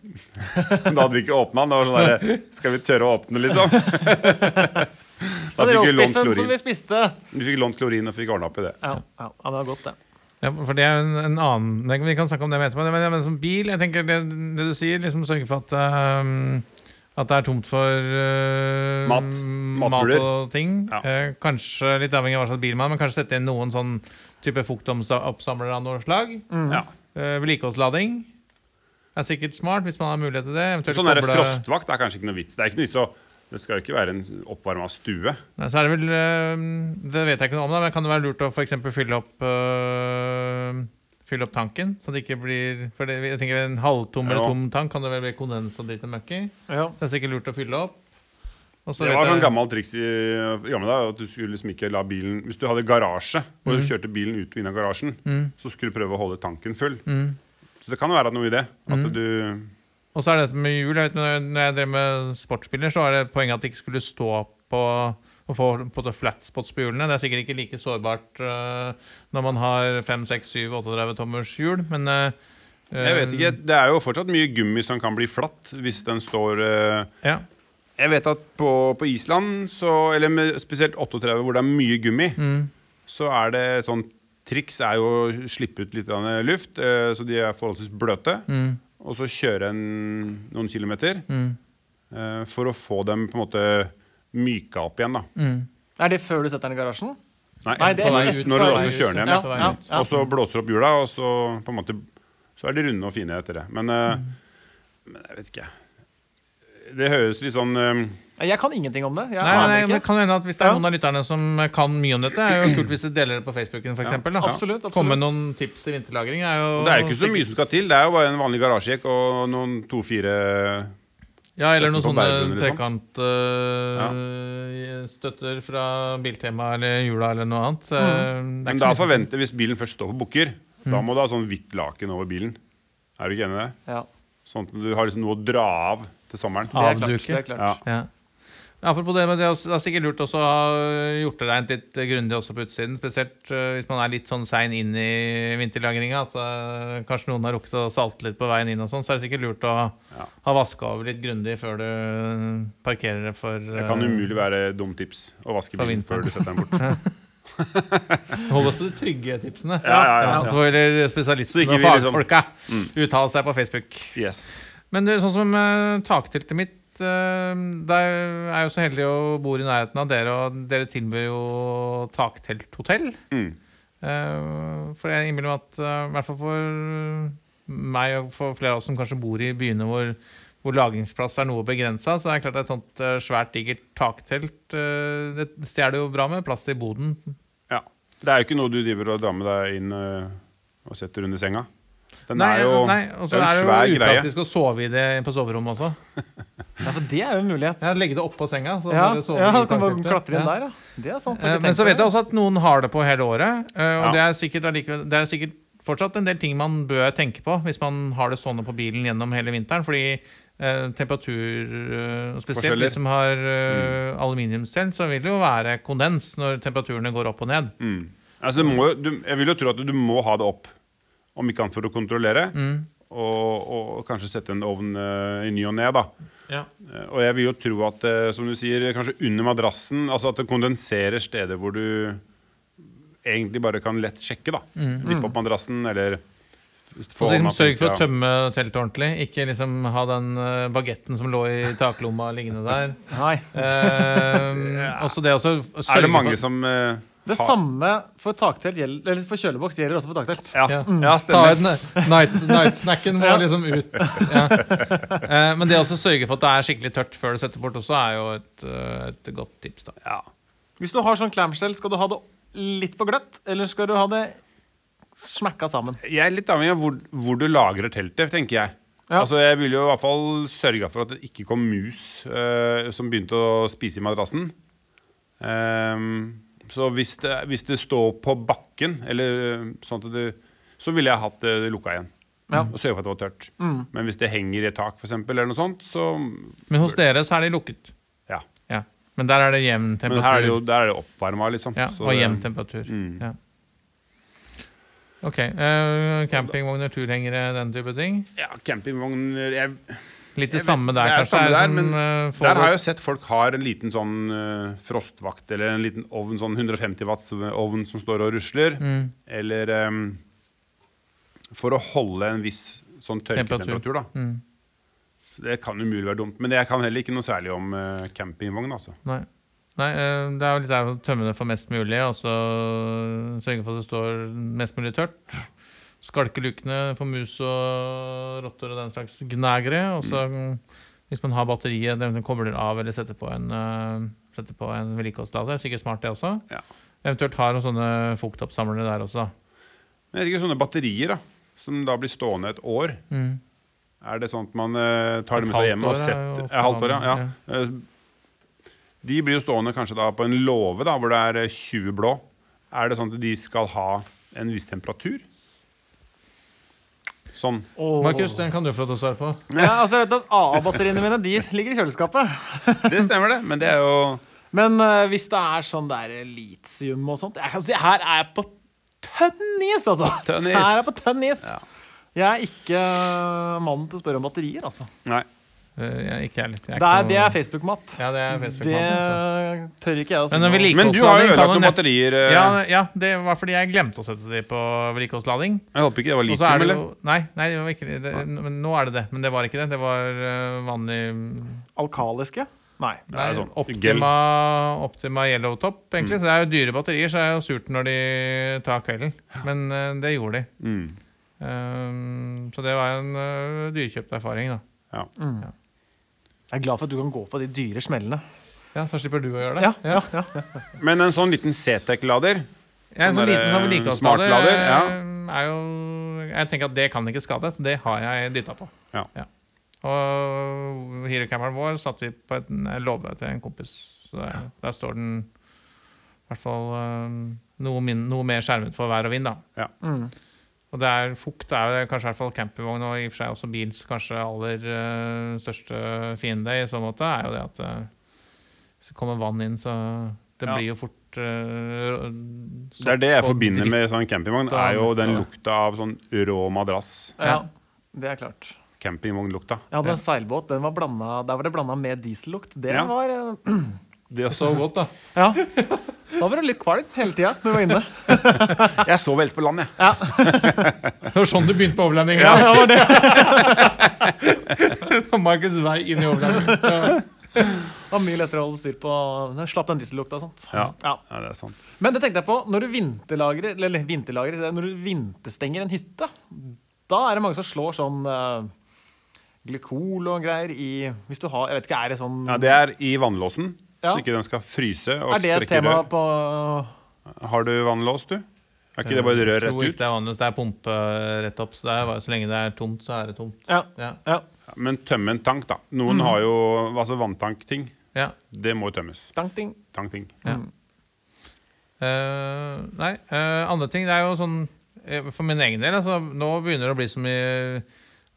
Speaker 3: Men da hadde vi ikke åpna den. Det var sånn der, Skal vi tørre å åpne, liksom? Da
Speaker 4: Ja, den
Speaker 3: fikk vi lånt
Speaker 4: roastbiffen
Speaker 3: klorin.
Speaker 4: som vi spiste.
Speaker 3: Vi fikk lånt klorin og fikk ordna opp i det.
Speaker 4: Ja, ja, ja, det var godt, det.
Speaker 1: Ja, for det er jo en, en annen nei, Vi kan snakke om det etterpå. Men, men som bil, jeg tenker det, det du sier, liksom sørge for at, ehm, at det er tomt for eh,
Speaker 3: Mat.
Speaker 1: mat
Speaker 3: Mathuler.
Speaker 1: og ting.
Speaker 3: Ja.
Speaker 1: Eh, kanskje litt avhengig av hva slags bil man har, men kanskje sette inn noen sånn type fuktoppsamlere av noe slag.
Speaker 4: Mm.
Speaker 3: Ja.
Speaker 1: Eh, vedlikeholdslading er sikkert smart hvis man har mulighet til det. Eventuelt
Speaker 3: Sånn der
Speaker 1: koble-
Speaker 3: frostvakt er kanskje ikke noe vits. Det er ikke noe vits å det skal jo ikke være en oppvarma stue.
Speaker 1: Nei, så er det vel eh, Det vet jeg ikke noe om, da, men kan det være lurt å for eksempel fylle opp eh, Fylle opp tanken, så det ikke blir For det, jeg tenker en halvtom eller
Speaker 3: Ja.
Speaker 1: tom tank kan det vel bli kondens og dritt og møkk i.
Speaker 4: Ja.
Speaker 1: Det er sikkert lurt å fylle opp. Og så
Speaker 3: Det
Speaker 1: vet
Speaker 3: var
Speaker 1: jeg-
Speaker 3: sånn gammelt triks i i gamle dager at du skulle liksom ikke la bilen Hvis du hadde garasje, og
Speaker 1: Mhm.
Speaker 3: du kjørte bilen ut og inn av garasjen, så skulle du prøve å holde tanken full.
Speaker 1: Mm.
Speaker 3: Så det kan jo være noe i det. At
Speaker 1: Mhm.
Speaker 3: du
Speaker 1: Og så er det dette med hjul. Jeg vet, når jeg- når jeg drev med sportsbiler, så var det poenget at det ikke skulle stå på å få på det flat spots på hjulene. Det er sikkert ikke like sårbart eh, når man har 5, 6, 7, 38 tommers hjul, men eh,
Speaker 3: Jeg vet ikke, Det er jo fortsatt mye gummi som kan bli flatt hvis den står eh,
Speaker 1: Ja.
Speaker 3: Jeg vet at på, på Island, så, eller med spesielt 38 hvor det er mye gummi,
Speaker 4: Mm.
Speaker 3: så er det sånn triks er jo å slippe ut litt grann luft, eh, så de er forholdsvis bløte,
Speaker 4: Mm.
Speaker 3: og så kjøre en, noen kilometer eh, for å få dem på en måte myka opp igjen. da.
Speaker 4: Er det før du setter den i garasjen?
Speaker 3: Nei,
Speaker 4: Mm. Nei, det er
Speaker 3: på vei
Speaker 4: ut,
Speaker 3: ut,
Speaker 4: på
Speaker 3: når du
Speaker 4: vei
Speaker 3: også
Speaker 4: ut.
Speaker 3: kjører den igjen.
Speaker 1: Ja,
Speaker 3: ja.
Speaker 1: på vei
Speaker 4: ja,
Speaker 1: ut.
Speaker 4: ja.
Speaker 3: Og så blåser opp hjula, og så på en måte Så er de runde og fine etter det. Men, eh,
Speaker 4: Mm.
Speaker 3: men jeg vet ikke. Det høres litt sånn eh,
Speaker 4: Jeg kan ingenting om det. Jeg
Speaker 1: Nei,
Speaker 4: aner
Speaker 1: nei, men det
Speaker 4: ikke.
Speaker 1: kan jo hende at Hvis det er
Speaker 4: Ja.
Speaker 1: noen av lytterne som kan mye om dette, er jo kult hvis de deler det på Facebooken. For eksempel, da.
Speaker 4: Absolutt, absolutt.
Speaker 1: Komme med noen tips til vinterlagring. Er jo
Speaker 3: Det er jo ikke så mye som skal til. Det er jo bare en vanlig garasjejekk og noen to-fire
Speaker 1: Ja, Eller sånn, eh, noen
Speaker 3: Sette på
Speaker 1: sånne
Speaker 3: berggrunn, liksom.
Speaker 1: trekantstøtter eh, fra Biltema eller Jula eller noe annet. Eh, det er
Speaker 3: Men
Speaker 1: ikke
Speaker 3: da
Speaker 1: så mye. Mm.
Speaker 3: forventer Hvis bilen først står på bukker, da må du ha sånn hvitt laken over bilen. Er du ikke enig i det?
Speaker 4: Ja,
Speaker 3: Sånn at du har liksom noe å dra av til sommeren.
Speaker 4: det er klart.
Speaker 1: Avduke.
Speaker 4: Det er klart.
Speaker 3: Ja.
Speaker 1: Ja. Apropos det, men det er også- det er sikkert lurt også å ha gjort det rent litt grundig også på utsiden. Spesielt eh, hvis man er litt sånn sein inn i vinterlagringa. At eh, kanskje noen har rukket å salte litt på veien inn, og sånn, så er det sikkert lurt å
Speaker 3: Ja.
Speaker 1: ha vaska over litt grundig før du eh, parkerer det for
Speaker 3: Det kan
Speaker 1: eh,
Speaker 3: umulig være dumt tips å vaske
Speaker 1: Fra
Speaker 3: bilen før
Speaker 1: vinteren.
Speaker 3: du setter den bort.
Speaker 1: Hold oss til de trygge tipsene.
Speaker 3: Ja, ja, ja, ja.
Speaker 1: Så gjelder
Speaker 3: Så
Speaker 1: spesialistene
Speaker 3: ikke
Speaker 1: og
Speaker 3: vi liksom-
Speaker 1: fagfolka. Uttale seg på Facebook.
Speaker 3: Yes.
Speaker 1: Men det, er sånn som eh, takteltet mitt eh, Det er er jo så heldig å bo i nærheten av dere, og dere tilbyr jo taktelthotell.
Speaker 3: Mm.
Speaker 1: Eh, for jeg innbiller meg at eh, I hvert fall for meg og for flere av oss som kanskje bor i byene hvor, hvor lagringsplass er noe begrensa, så er det klart at et sånt eh, svært digert taktelt eh, Det stjeler jo bra med plass i boden.
Speaker 3: Ja. Det er jo ikke noe du driver og drar med deg inn øh, og setter under senga. Den
Speaker 1: Nei, eh,
Speaker 3: er jo
Speaker 1: nei, og så
Speaker 3: det er
Speaker 1: er det
Speaker 3: en svær
Speaker 1: jo
Speaker 3: greie.
Speaker 1: upraktisk å sove i det på soverommet også.
Speaker 4: Ja, for det er jo en mulighet.
Speaker 1: Ja, Legge det oppå senga. Så
Speaker 4: Ja,
Speaker 1: bare sove
Speaker 4: ja,
Speaker 1: i
Speaker 4: du kan bare
Speaker 1: takteltet.
Speaker 4: klatre
Speaker 1: Ja.
Speaker 4: inn der, ja. Det er sant.
Speaker 1: Eh, Men så vet jeg også at noen har det på hele året. eh, Og
Speaker 3: Ja.
Speaker 1: det, er sikkert, allikevel- det er sikkert fortsatt en del ting man bør tenke på hvis man har det stående på bilen gjennom hele vinteren. Fordi eh, temperatur eh,
Speaker 3: Forskjeller.
Speaker 1: Spesielt
Speaker 3: Mm.
Speaker 1: de som har eh, aluminiumsstell, så vil det jo være kondens når temperaturene går opp og ned.
Speaker 3: Mm. Altså, det må, jo- du, jeg vil jo tro at du må ha det opp, om ikke annet for å kontrollere.
Speaker 1: Mm.
Speaker 3: Og, og kanskje sette en ovn øh, i ny og ne. da.
Speaker 1: Ja.
Speaker 3: Eh, Og jeg vil jo tro at eh, som du sier, kanskje under madrassen, altså at det kondenserer steder hvor du egentlig bare kan lett sjekke. da. Vippe opp madrassen, eller f-
Speaker 1: Mm. Og
Speaker 3: få
Speaker 1: så liksom
Speaker 3: hånda på
Speaker 1: Sørg for å
Speaker 3: innsida.
Speaker 1: tømme teltet ordentlig. Ikke liksom ha den eh, bagetten som lå i taklomma liggende der.
Speaker 4: Nei.
Speaker 1: Eh, også det også sørge
Speaker 3: Er det mange
Speaker 1: for-
Speaker 3: som eh,
Speaker 4: Det
Speaker 3: har-
Speaker 4: samme for taktelt gjelder, eller for kjøleboks gjelder også for taktelt.
Speaker 3: Ja,
Speaker 1: Ja.
Speaker 3: ja
Speaker 1: Ta
Speaker 3: stemmer.
Speaker 1: ut night- Nightsnacken må liksom ut. Ja. Eh, Men det å også sørge for at det er skikkelig tørt før du setter bort, også er jo et, eh, et godt tips. da
Speaker 3: Ja.
Speaker 4: Hvis du har sånn clamshell, skal du ha det litt på gløtt, eller skal du ha det smakka sammen?
Speaker 3: Jeg er litt avhengig av hvor, hvor du lagrer teltet, tenker jeg.
Speaker 4: Ja.
Speaker 3: Altså, Jeg ville jo i hvert fall sørga for at det ikke kom mus eh, som begynte å spise i madrassen. Ehm, så hvis det, hvis det står på bakken, eller eh, sånn at det, så ville jeg hatt det lukka igjen.
Speaker 4: Ja.
Speaker 3: Og sørga for at det var tørt. Men hvis det henger i et tak, for eksempel, eller noe sånt, så
Speaker 1: Men hos dere så er de lukket.
Speaker 3: ja.
Speaker 1: Ja. Men der er det jevn
Speaker 3: Men her er det jo
Speaker 1: temperatur.
Speaker 3: der er det oppvarma, liksom.
Speaker 1: Ja,
Speaker 3: Så
Speaker 1: og
Speaker 3: det- Mm.
Speaker 1: jevn temperatur. Ja. Ok. eh, campingvogner, turhengere, den type ting.
Speaker 3: Ja, campingvogn jeg,
Speaker 1: Litt
Speaker 3: Jeg
Speaker 1: det
Speaker 3: vet-
Speaker 1: samme der,
Speaker 3: det er
Speaker 1: kanskje.
Speaker 3: samme
Speaker 1: er
Speaker 3: der,
Speaker 1: sånn,
Speaker 3: men
Speaker 1: eh, får
Speaker 3: Der har jeg
Speaker 1: det-
Speaker 3: jo sett folk har en liten sånn eh, frostvakt eller en liten ovn, sånn 150 watts ovn som står og rusler.
Speaker 1: Mm.
Speaker 3: Eller em, for å holde en viss sånn
Speaker 1: Temperatur.
Speaker 3: tørketemperatur, da.
Speaker 1: Mm.
Speaker 3: Så det kan umulig være dumt. Men jeg kan heller ikke noe særlig om eh, campingvogn, altså.
Speaker 1: Nei. Nei, eh, det er jo litt der å tømme det for mest mulig, og så sørge for at det står mest mulig tørt. Skalke lukene for mus og rotter og den slags gnagere. Og så hvis man har batteriet, det eventuelt kobler av eller setter på en, eh, setter på en vedlikeholdsstader. Sikkert smart, det også.
Speaker 3: Ja.
Speaker 1: Eventuelt har noen sånne fuktoppsamlere der også.
Speaker 3: Men jeg vet ikke, sånne batterier da, som da blir stående et år,
Speaker 1: Mm.
Speaker 3: er det sånn at man eh, tar det med seg
Speaker 1: Et halvt
Speaker 3: hjem og
Speaker 1: år er
Speaker 3: setter
Speaker 1: jo
Speaker 3: eh, Halvt år, ja.
Speaker 1: vanlig,
Speaker 3: ja. Eh, De blir jo stående kanskje da på en låve da, hvor det er eh, 20 blå. Er det sånn at de skal ha en viss temperatur? Sånn.
Speaker 4: Åh.
Speaker 1: Markus, den kan du få lov til å svare på.
Speaker 4: Ja, altså, jeg vet at AA-batteriene mine de ligger i kjøleskapet.
Speaker 3: Det stemmer, det. Men det er jo
Speaker 4: Men eh, hvis det er sånn der litium og sånt jeg kan si, Her er jeg på tønn is, altså!
Speaker 3: Tønn is.
Speaker 4: Her er jeg på tønn is.
Speaker 3: Ja.
Speaker 4: Jeg er ikke eh, mannen til å spørre om batterier, altså.
Speaker 3: Nei.
Speaker 1: Eh, Jeg, ikke jeg heller. Jeg
Speaker 4: Det er,
Speaker 1: ikke
Speaker 4: det
Speaker 1: noe-
Speaker 4: er Facebook-mat.
Speaker 1: Ja, det er altså. Facebook.
Speaker 4: Det tør ikke jeg å si
Speaker 1: Men når
Speaker 4: noe
Speaker 1: vi
Speaker 4: om.
Speaker 1: liker-
Speaker 3: Men du har jo
Speaker 1: Oppladning kan
Speaker 3: ødelagt
Speaker 1: jo
Speaker 3: noen
Speaker 1: nett-
Speaker 3: batterier. eh,
Speaker 1: ja, ja, det var fordi jeg glemte å sette de på vedlikeholdslading.
Speaker 3: Jeg håper ikke det var
Speaker 1: Og så
Speaker 3: litium,
Speaker 1: er det
Speaker 3: eller?
Speaker 1: jo, nei, nei, det var ikke det. det. Men nå er det det. Men det var ikke det. Det var eh, vanlig
Speaker 4: Alkaliske? Nei.
Speaker 1: nei,
Speaker 3: er sånn, Mm.
Speaker 1: Optima, Optima Yellow Top, egentlig. Så det er jo dyre batterier, så det er jo surt når de tar kvelden. Men eh, det gjorde de.
Speaker 3: Mm.
Speaker 1: Ehm, så det var en eh, dyrekjøpt erfaring, da.
Speaker 3: Ja.
Speaker 4: Jeg er glad for at du kan gå på de dyre smellene.
Speaker 1: Ja, Så slipper du å gjøre det.
Speaker 4: Ja, ja, ja.
Speaker 3: Men en sånn liten C-Tech-lader
Speaker 1: Jeg er en
Speaker 3: Sånn
Speaker 1: sånn liten
Speaker 3: der,
Speaker 1: sånn
Speaker 3: eh,
Speaker 1: vedlikeholdsstader.
Speaker 3: smartlader, ja.
Speaker 1: eh, Er jo, jeg tenker at det kan ikke skade, så det har jeg dytta på.
Speaker 3: Ja.
Speaker 1: Og hirocammeren vår satte vi på et en låve til en kompis. Så der, der står den i hvert fall eh, noe, min, noe mer skjermet for vær og vind, da.
Speaker 4: Mm.
Speaker 1: Og det er fukt er jo kanskje i hvert fall campingvogn og i og for seg også bils kanskje aller eh, største fiende i så måte, er jo det at eh, hvis det kommer vann inn, så det
Speaker 3: Ja.
Speaker 1: blir jo fort eh,
Speaker 3: Det er det jeg
Speaker 1: sopp og
Speaker 3: forbinder
Speaker 1: dritt.
Speaker 3: med sånn campingvogn.
Speaker 1: Da
Speaker 3: Er jo
Speaker 1: lukta
Speaker 3: den
Speaker 1: det.
Speaker 3: lukta av sånn rå madrass.
Speaker 4: ja, det er klart.
Speaker 3: Campingvognlukta.
Speaker 4: Jeg hadde en seilbåt. Den var blanda, der var det blanda med diesellukt. Det
Speaker 3: Ja.
Speaker 4: var eh,
Speaker 3: Det er også godt, da.
Speaker 4: Ja. Da var du litt kvalm hele tida når du var inne.
Speaker 3: Jeg sover helst på land, jeg.
Speaker 1: Det var sånn du begynte på overlanding? Ja, det var det. På Markus' vei inn i overlanding.
Speaker 4: Det var mye lettere å holde styr på. Slapp den diesellukta og sånt.
Speaker 3: Ja.
Speaker 4: Ja.
Speaker 3: Ja, det er sant.
Speaker 4: Men det tenkte jeg på, når du vinterlagrer, eller- eller vinterlagrer, det er når du vinterstenger en hytte, da er det mange som slår sånn eh, glykol og greier i Hvis du har Jeg vet ikke, er det sånn
Speaker 3: Ja, det er i vannlåsen,
Speaker 4: Ja.
Speaker 3: så ikke den skal fryse og
Speaker 4: Er det et
Speaker 3: strekke
Speaker 4: tema
Speaker 3: rør.
Speaker 4: på
Speaker 3: Har du vannlås, du? Er ikke det bare rør
Speaker 1: Tror ikke
Speaker 3: rett ut?
Speaker 1: Det er vanligvis det er pumpe rett opp. Så, det er, bare- så lenge det er tomt, så er det tomt.
Speaker 4: Ja.
Speaker 1: Ja.
Speaker 4: ja.
Speaker 3: Ja, Men tømme en tank, da.
Speaker 1: Mm.
Speaker 3: Noen har jo altså vanntankting.
Speaker 1: ja.
Speaker 3: Det må jo tømmes.
Speaker 4: Dang-ding.
Speaker 3: Tankting.
Speaker 1: Mm. Eh, nei, eh, andre ting Det er jo sånn eh, For min egen del, altså, nå begynner det å bli så mye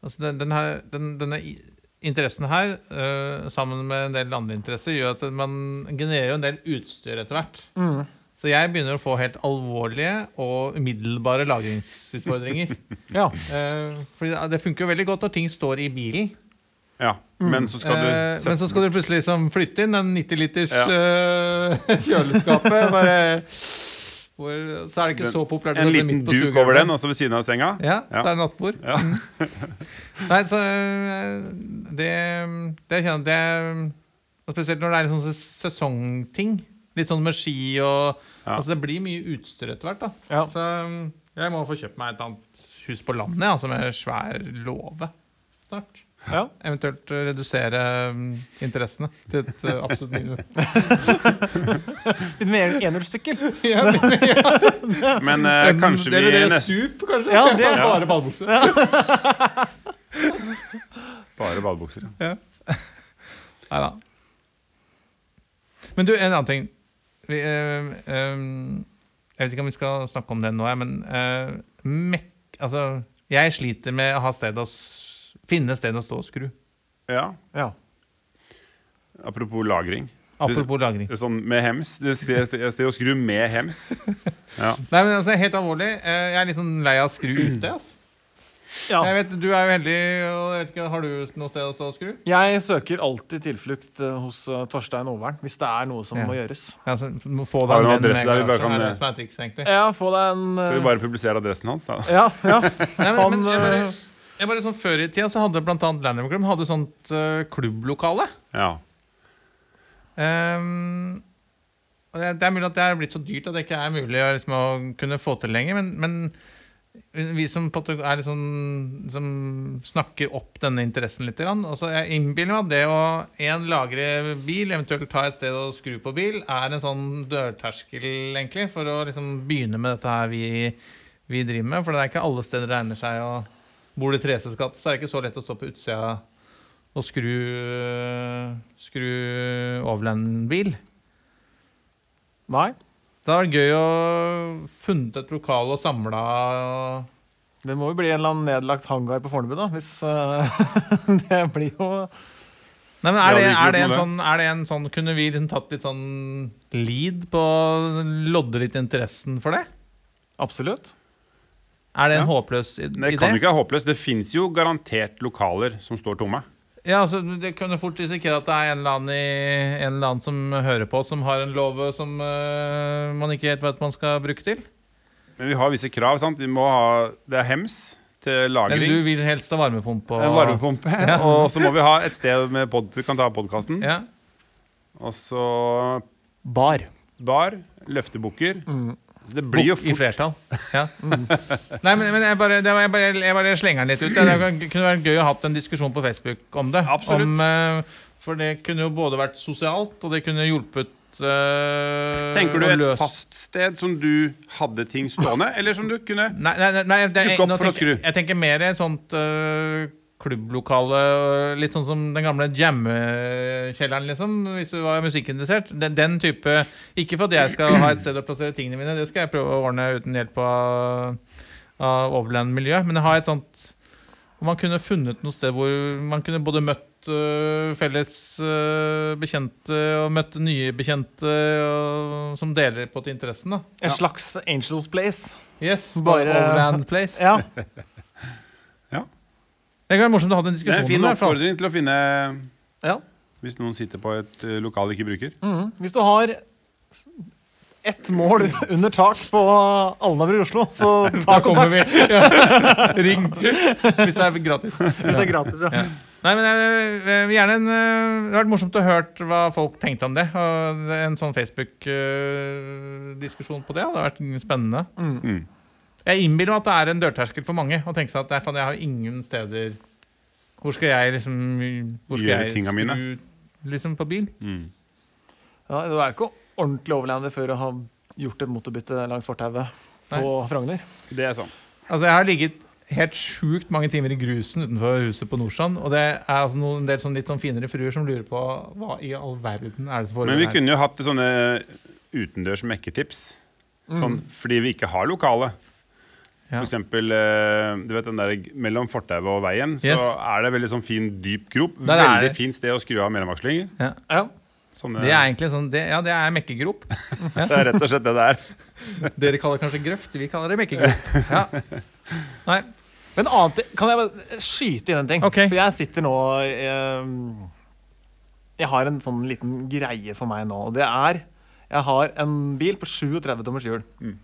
Speaker 1: altså, den, den her, den, Denne i- interessen her, eh, sammen med en del andre interesser, gjør at man genererer jo en del utstyr etter hvert.
Speaker 4: Mm.
Speaker 1: Så jeg begynner å få helt alvorlige og umiddelbare lagringsutfordringer.
Speaker 4: Ja.
Speaker 1: Eh, fordi det- det funker jo veldig godt når ting står i bilen.
Speaker 3: Ja, men så skal du
Speaker 1: Eh,
Speaker 3: sette
Speaker 1: men så skal du plutselig liksom flytte inn den 90 liters
Speaker 3: Ja.
Speaker 1: eh, kjøleskapet. Bare, hvor, så er det ikke
Speaker 3: Den-
Speaker 1: så populært. å
Speaker 3: en
Speaker 1: sette det
Speaker 3: liten
Speaker 1: midt på
Speaker 3: duk
Speaker 1: stuegulvet.
Speaker 3: over den, også ved siden av senga.
Speaker 1: Ja,
Speaker 3: Ja.
Speaker 1: så er det nattbord.
Speaker 3: Ja.
Speaker 1: Mm. Nei, så eh, det, det jeg kjenner det, og Spesielt når det er sånne sesongting. Litt sånn med ski og
Speaker 3: Ja.
Speaker 1: Altså, det blir mye utstyr etter hvert, da.
Speaker 4: Ja.
Speaker 1: Så mm, jeg må få kjøpt meg et annet hus på landet, altså med svær låve snart.
Speaker 4: ja.
Speaker 1: Eventuelt eh, redusere mm, interessene til et eh, absolutt minimum.
Speaker 4: Litt mer enhjulssykkel.
Speaker 1: Ja,
Speaker 3: Men eh, kanskje vi
Speaker 1: Eller det
Speaker 3: nesten
Speaker 1: stup, kanskje?
Speaker 4: Ja, det-
Speaker 1: Bare ballbukse.
Speaker 3: Bare badebukser. ja.
Speaker 1: Nei da. Men du, en annen ting. Vi, eh, eh, jeg vet ikke om vi skal snakke om det nå, jeg, men eh, mek altså, jeg sliter med å ha sted å s finne sted å stå og skru.
Speaker 3: Ja.
Speaker 4: Ja.
Speaker 3: Apropos lagring.
Speaker 1: Apropos lagring.
Speaker 3: Det er Sånn med hems. Det er sted- sted å skru med hems. Ja.
Speaker 1: Nei, men altså, Helt alvorlig, eh, jeg er litt sånn lei av å skru ute. Altså.
Speaker 4: Ja.
Speaker 1: Jeg vet, Du er jo heldig. og jeg vet ikke, Har du noe sted å stå og skru?
Speaker 4: Jeg søker alltid tilflukt eh, hos eh, Torstein Overn hvis det er noe som
Speaker 1: Ja.
Speaker 4: må gjøres.
Speaker 1: Ja, så må få
Speaker 3: Har du
Speaker 1: deg en
Speaker 3: noen
Speaker 1: venn
Speaker 3: adresse
Speaker 1: med
Speaker 3: der vi
Speaker 1: en
Speaker 3: bare
Speaker 1: gang,
Speaker 3: kan,
Speaker 1: så er
Speaker 3: eh,
Speaker 1: det som er trikset, egentlig.
Speaker 4: Ja, få deg en eh,
Speaker 3: Skal vi bare publisere adressen hans, da?
Speaker 4: Ja, ja.
Speaker 1: Nei, men,
Speaker 4: Han,
Speaker 1: men, jeg bare,
Speaker 4: eh,
Speaker 1: jeg bare sånn Før i tida så hadde blant annet Landham Club hadde sånt eh, klubblokale.
Speaker 3: Ja.
Speaker 1: Ehm, og det, det er mulig at det er blitt så dyrt at det ikke er mulig å, liksom, å kunne få til lenger, men, men vi som, på en måte er litt sånn- som snakker opp denne interessen litt grann, altså Jeg innbiller meg at det å en lagre bil, eventuelt ta et sted og skru på bil, er en sånn dørterskel egentlig for å liksom begynne med dette her vi, vi driver med. For det er ikke alle steder det egner seg. Og bor du i Treseskatt, så er det ikke så lett å stå på utsida og skru, skru overland-bil.
Speaker 4: Nei.
Speaker 1: Det hadde vært gøy å funnet et lokal og samla
Speaker 4: Det må jo bli en eller annen nedlagt hangar på Fornebu, da. Hvis eh, Det blir jo
Speaker 1: Nei, men
Speaker 3: Ja,
Speaker 1: er det,
Speaker 3: det gikk
Speaker 1: er, det
Speaker 3: jo
Speaker 1: en
Speaker 3: på
Speaker 1: sånn, er det en sånn Kunne vi liksom tatt litt sånn lead på Lodde litt interessen for det?
Speaker 4: Absolutt.
Speaker 1: Er det en
Speaker 3: Ja.
Speaker 1: håpløs i-
Speaker 3: Men
Speaker 1: idé?
Speaker 3: det kan jo ikke være håpløst. Det fins jo garantert lokaler som står tomme.
Speaker 1: Ja, altså, det kunne fort risikere at det er en eller annen, i, en eller annen som hører på, som har en låve som øh, man ikke helt vet man skal bruke til.
Speaker 3: Men vi har visse krav. sant? Vi må ha, det er hems til
Speaker 1: Eller du
Speaker 3: lagring.
Speaker 1: vil helst ha varmepumpe.
Speaker 3: En varmepumpe. Og så må vi ha et sted med pod, du kan ta podkasten.
Speaker 1: Ja.
Speaker 3: Og så
Speaker 4: Bar.
Speaker 3: bar. Løftebukker. Det blir jo
Speaker 1: Bok Mm. I
Speaker 3: fort
Speaker 1: flertall. Ja. Mm. Nei, men, men jeg, bare, det var, jeg, bare, jeg bare slenger den litt ut. Det var- kunne vært gøy å ha en diskusjon på Facebook om det.
Speaker 3: Absolutt.
Speaker 1: Om, eh, for det kunne jo både vært sosialt, og det kunne hjulpet eh,
Speaker 3: Tenker du
Speaker 1: å
Speaker 3: et
Speaker 1: løse-
Speaker 3: fast sted som du hadde ting stående, eller som du kunne
Speaker 1: Nei, nei, nei, nei det, er-
Speaker 3: Dukke opp
Speaker 1: nå
Speaker 3: for å
Speaker 1: tenker-
Speaker 3: skru.
Speaker 1: Jeg tenker mer et sånt øh, klubblokale, øh, litt sånn som den gamle jammekjelleren, liksom, hvis du var musikkinteressert. Den, den type Ikke for at jeg skal ha et sted å plassere tingene mine, det skal jeg prøve å ordne uten hjelp av, av Overland-miljø, men ha et sånt hvor man kunne funnet noe sted hvor man kunne både møtt øh, felles øh, bekjente og møtt nye bekjente og, som deler på til interessen. da
Speaker 4: En slags Angels Place.
Speaker 1: Yes,
Speaker 4: Bare-
Speaker 1: bare Overland Place.
Speaker 4: Ja.
Speaker 1: Det kan være morsomt å ha den
Speaker 3: Det er
Speaker 1: diskusjonen.
Speaker 3: en fin
Speaker 1: i hvert fall.
Speaker 3: oppfordring til å finne
Speaker 4: ja.
Speaker 3: Hvis noen sitter på et eh, lokal de ikke bruker.
Speaker 1: Mm.
Speaker 4: Mhm. Hvis du har ett mål under tak på Alnabru i Oslo, så ta
Speaker 1: Da kommer
Speaker 4: kontakt
Speaker 1: vi. Ja. Ring hvis det er gratis.
Speaker 4: hvis det er gratis. Ja.
Speaker 1: Nei, men jeg- jeg vil gjerne en, øh, Det hadde vært morsomt å høre hva folk tenkte om det. Og en sånn Facebook-diskusjon på det hadde vært spennende.
Speaker 3: Mm.
Speaker 1: Jeg innbiller meg at det er en dørterskel for mange å tenke seg at "Nei, faen, jeg har jo ingen steder Hvor skal jeg liksom Hvor skal
Speaker 3: Gjøre
Speaker 1: jeg
Speaker 3: tinga mine."
Speaker 1: skru liksom på bil?
Speaker 3: Mm.
Speaker 4: Ja, du er ikke ordentlig overlander før du har gjort et motorbytte langs fortauet på Frogner.
Speaker 3: Det er sant.
Speaker 1: Altså, jeg har ligget helt sjukt mange timer i grusen utenfor huset på Nordstrand. Og det er altså noen, en del sånn litt sånn finere fruer som lurer på hva i all verden er det som
Speaker 3: Men
Speaker 1: foregår
Speaker 3: vi
Speaker 1: her.
Speaker 3: kunne jo hatt sånne utendørs mekketips. Sånn, fordi vi ikke har lokale.
Speaker 1: Mm. Ja.
Speaker 3: For eksempel, eh, du vet den der, mellom fortauet og veien så
Speaker 1: Yes.
Speaker 3: er det veldig sånn fin, dyp grop.
Speaker 1: Der er
Speaker 3: Veldig
Speaker 1: det.
Speaker 3: fint sted å skru av mellomvarslinger.
Speaker 1: Ja.
Speaker 4: Ja.
Speaker 3: Sånne-
Speaker 1: Det er egentlig sånn det, Ja, det er mekkegrop.
Speaker 3: det er rett og slett det det er.
Speaker 1: Dere kaller det kanskje grøft, vi kaller det mekkegrop. Ja. Nei.
Speaker 4: Men annet, kan jeg bare skyte inn en ting?
Speaker 1: Ok.
Speaker 4: For jeg sitter nå eh, Jeg har en sånn liten greie for meg nå, og det er Jeg har en bil på 37 tommers hjul.
Speaker 3: Mm.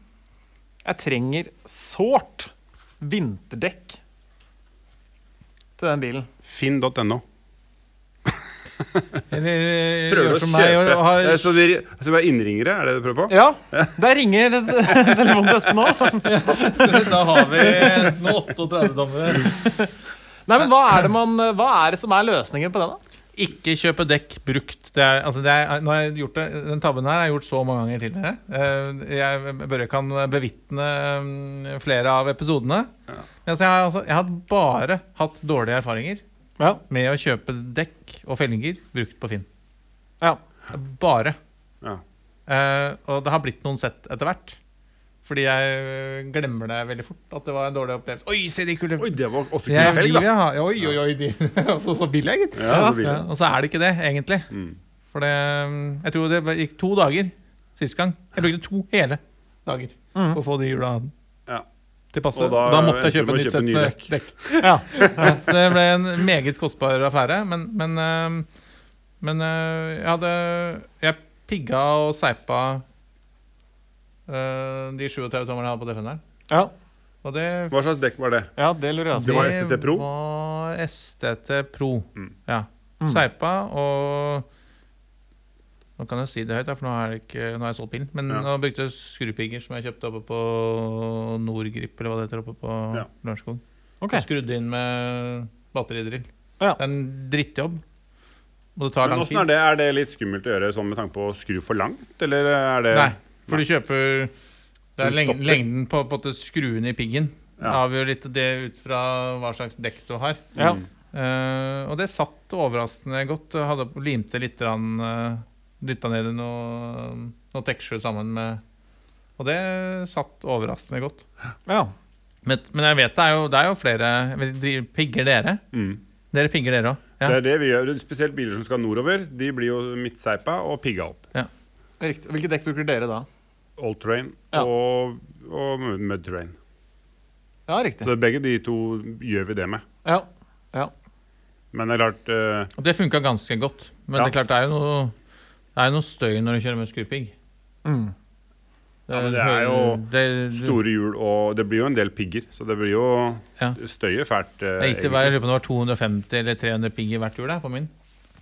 Speaker 4: Jeg trenger sårt vinterdekk til den bilen.
Speaker 3: Finn.no.
Speaker 1: Eller eh, gjør som meg og, og
Speaker 3: Eh,
Speaker 1: har
Speaker 3: Så vi så vi er innringere, er det det du prøver på?
Speaker 4: Ja, der ringer telefonen til Espen nå.
Speaker 1: Da har vi nå 38 dommere.
Speaker 4: Nei, men hva er, det man, hva er det som er løsningen på den, da?
Speaker 1: Ikke kjøpe dekk brukt. Det er, altså det er, nå har jeg gjort det, den tabben her har jeg gjort så mange ganger tidligere. Eh, Jeg Børre kan bevitne mm, flere av episodene. Men altså, jeg, har, altså, jeg har bare hatt dårlige erfaringer
Speaker 4: Ja,
Speaker 1: med å kjøpe dekk og felger brukt på Finn.
Speaker 4: ja.
Speaker 1: Bare.
Speaker 3: Ja.
Speaker 1: Eh, og det har blitt noen sett etter hvert. Fordi jeg eh, glemmer det veldig fort. At det var en dårlig opplevelse. Oi, se de kule
Speaker 3: Oi, det var også
Speaker 1: Jeg-
Speaker 3: kul felg, da.
Speaker 1: de vil ha- Oi, oi, oi. De. så, så billig, gitt.
Speaker 3: Ja, så blir
Speaker 1: Ja,
Speaker 3: det.
Speaker 1: og så er det ikke det, egentlig.
Speaker 3: Mm.
Speaker 1: For det mm, Jeg tror det gikk to
Speaker 4: Mm.
Speaker 1: dager sist gang. Jeg brukte to hele dager på å få de hjula
Speaker 3: Ja.
Speaker 1: riktig passe.
Speaker 3: Og
Speaker 1: Da,
Speaker 3: da
Speaker 1: måtte
Speaker 3: endte
Speaker 1: jeg kjøpe
Speaker 3: du med
Speaker 1: et
Speaker 3: å
Speaker 1: nytt
Speaker 3: kjøpe
Speaker 1: sett
Speaker 3: ny
Speaker 1: med dekk. Ja, så det ble en meget kostbar affære. Men, men, eh, men eh, jeg hadde Jeg pigga og seipa eh, de 37 tommerne jeg hadde på defenderen.
Speaker 4: Ja,
Speaker 1: Og det
Speaker 3: Hva slags dekk var det?
Speaker 4: ja det lurer jeg også
Speaker 3: Det
Speaker 4: på.
Speaker 3: var STT Pro?
Speaker 1: var STT Pro.
Speaker 3: Mm.
Speaker 1: Ja.
Speaker 4: Mm.
Speaker 1: Seipa og Nå kan jeg si det høyt, da, for nå har jeg, ikke, nå har jeg solgt bilen. Men
Speaker 3: Ja.
Speaker 1: nå brukte jeg skrupigger som jeg kjøpte oppe på Nordgrip, eller hva det heter, oppe på
Speaker 3: Ja.
Speaker 1: Lørenskog.
Speaker 4: Ok.
Speaker 1: Okay. Skrudd inn med batteridrill.
Speaker 4: Ja.
Speaker 1: Det er en drittjobb. Og det tar
Speaker 3: Men
Speaker 1: lang
Speaker 3: åssen
Speaker 1: tid.
Speaker 3: er det? Er det litt skummelt å gjøre sånn med tanke på å skru for langt, eller er det
Speaker 1: Nei, for du kjøper det er
Speaker 3: Den
Speaker 1: leng
Speaker 3: stopper.
Speaker 1: Lengden på, på en måte skruen i piggen
Speaker 3: Ja.
Speaker 1: avgjør litt det ut fra hva slags dekk du har.
Speaker 4: Ja.
Speaker 3: Mm.
Speaker 1: Eh, og det satt overraskende godt. Jeg Hadde limte litt grann, uh, Dytta ned i noe, noe tekstur sammen med Og det satt overraskende godt.
Speaker 4: Ja.
Speaker 1: Men, men jeg vet det er jo, det er jo flere jeg vet, de- Pigger dere?
Speaker 3: Mm.
Speaker 1: Dere pigger dere òg? Ja.
Speaker 3: Det er det vi gjør. Spesielt biler som skal nordover. De blir jo midtseipa og pigga opp.
Speaker 4: Riktig. Hvilke dekk bruker dere da?
Speaker 3: All terrain
Speaker 4: Ja.
Speaker 3: og, og mud terrain.
Speaker 4: Ja, riktig.
Speaker 3: Så begge de to gjør vi det med.
Speaker 4: Ja. ja.
Speaker 3: Men det er klart eh,
Speaker 1: Og det funka ganske godt. Men
Speaker 3: Ja.
Speaker 1: det er klart det er jo noe, det er jo noe støy når du kjører med skrupigg.
Speaker 4: Mm.
Speaker 3: Ja, men det er jo
Speaker 1: det- du-
Speaker 3: store hjul og Det blir jo en del pigger, så det blir jo
Speaker 1: Ja.
Speaker 3: støyer fælt. eh,
Speaker 1: Jeg gikk til hver, jeg lurer på om det var 250 eller 300 pigg i hvert hjul der, på min.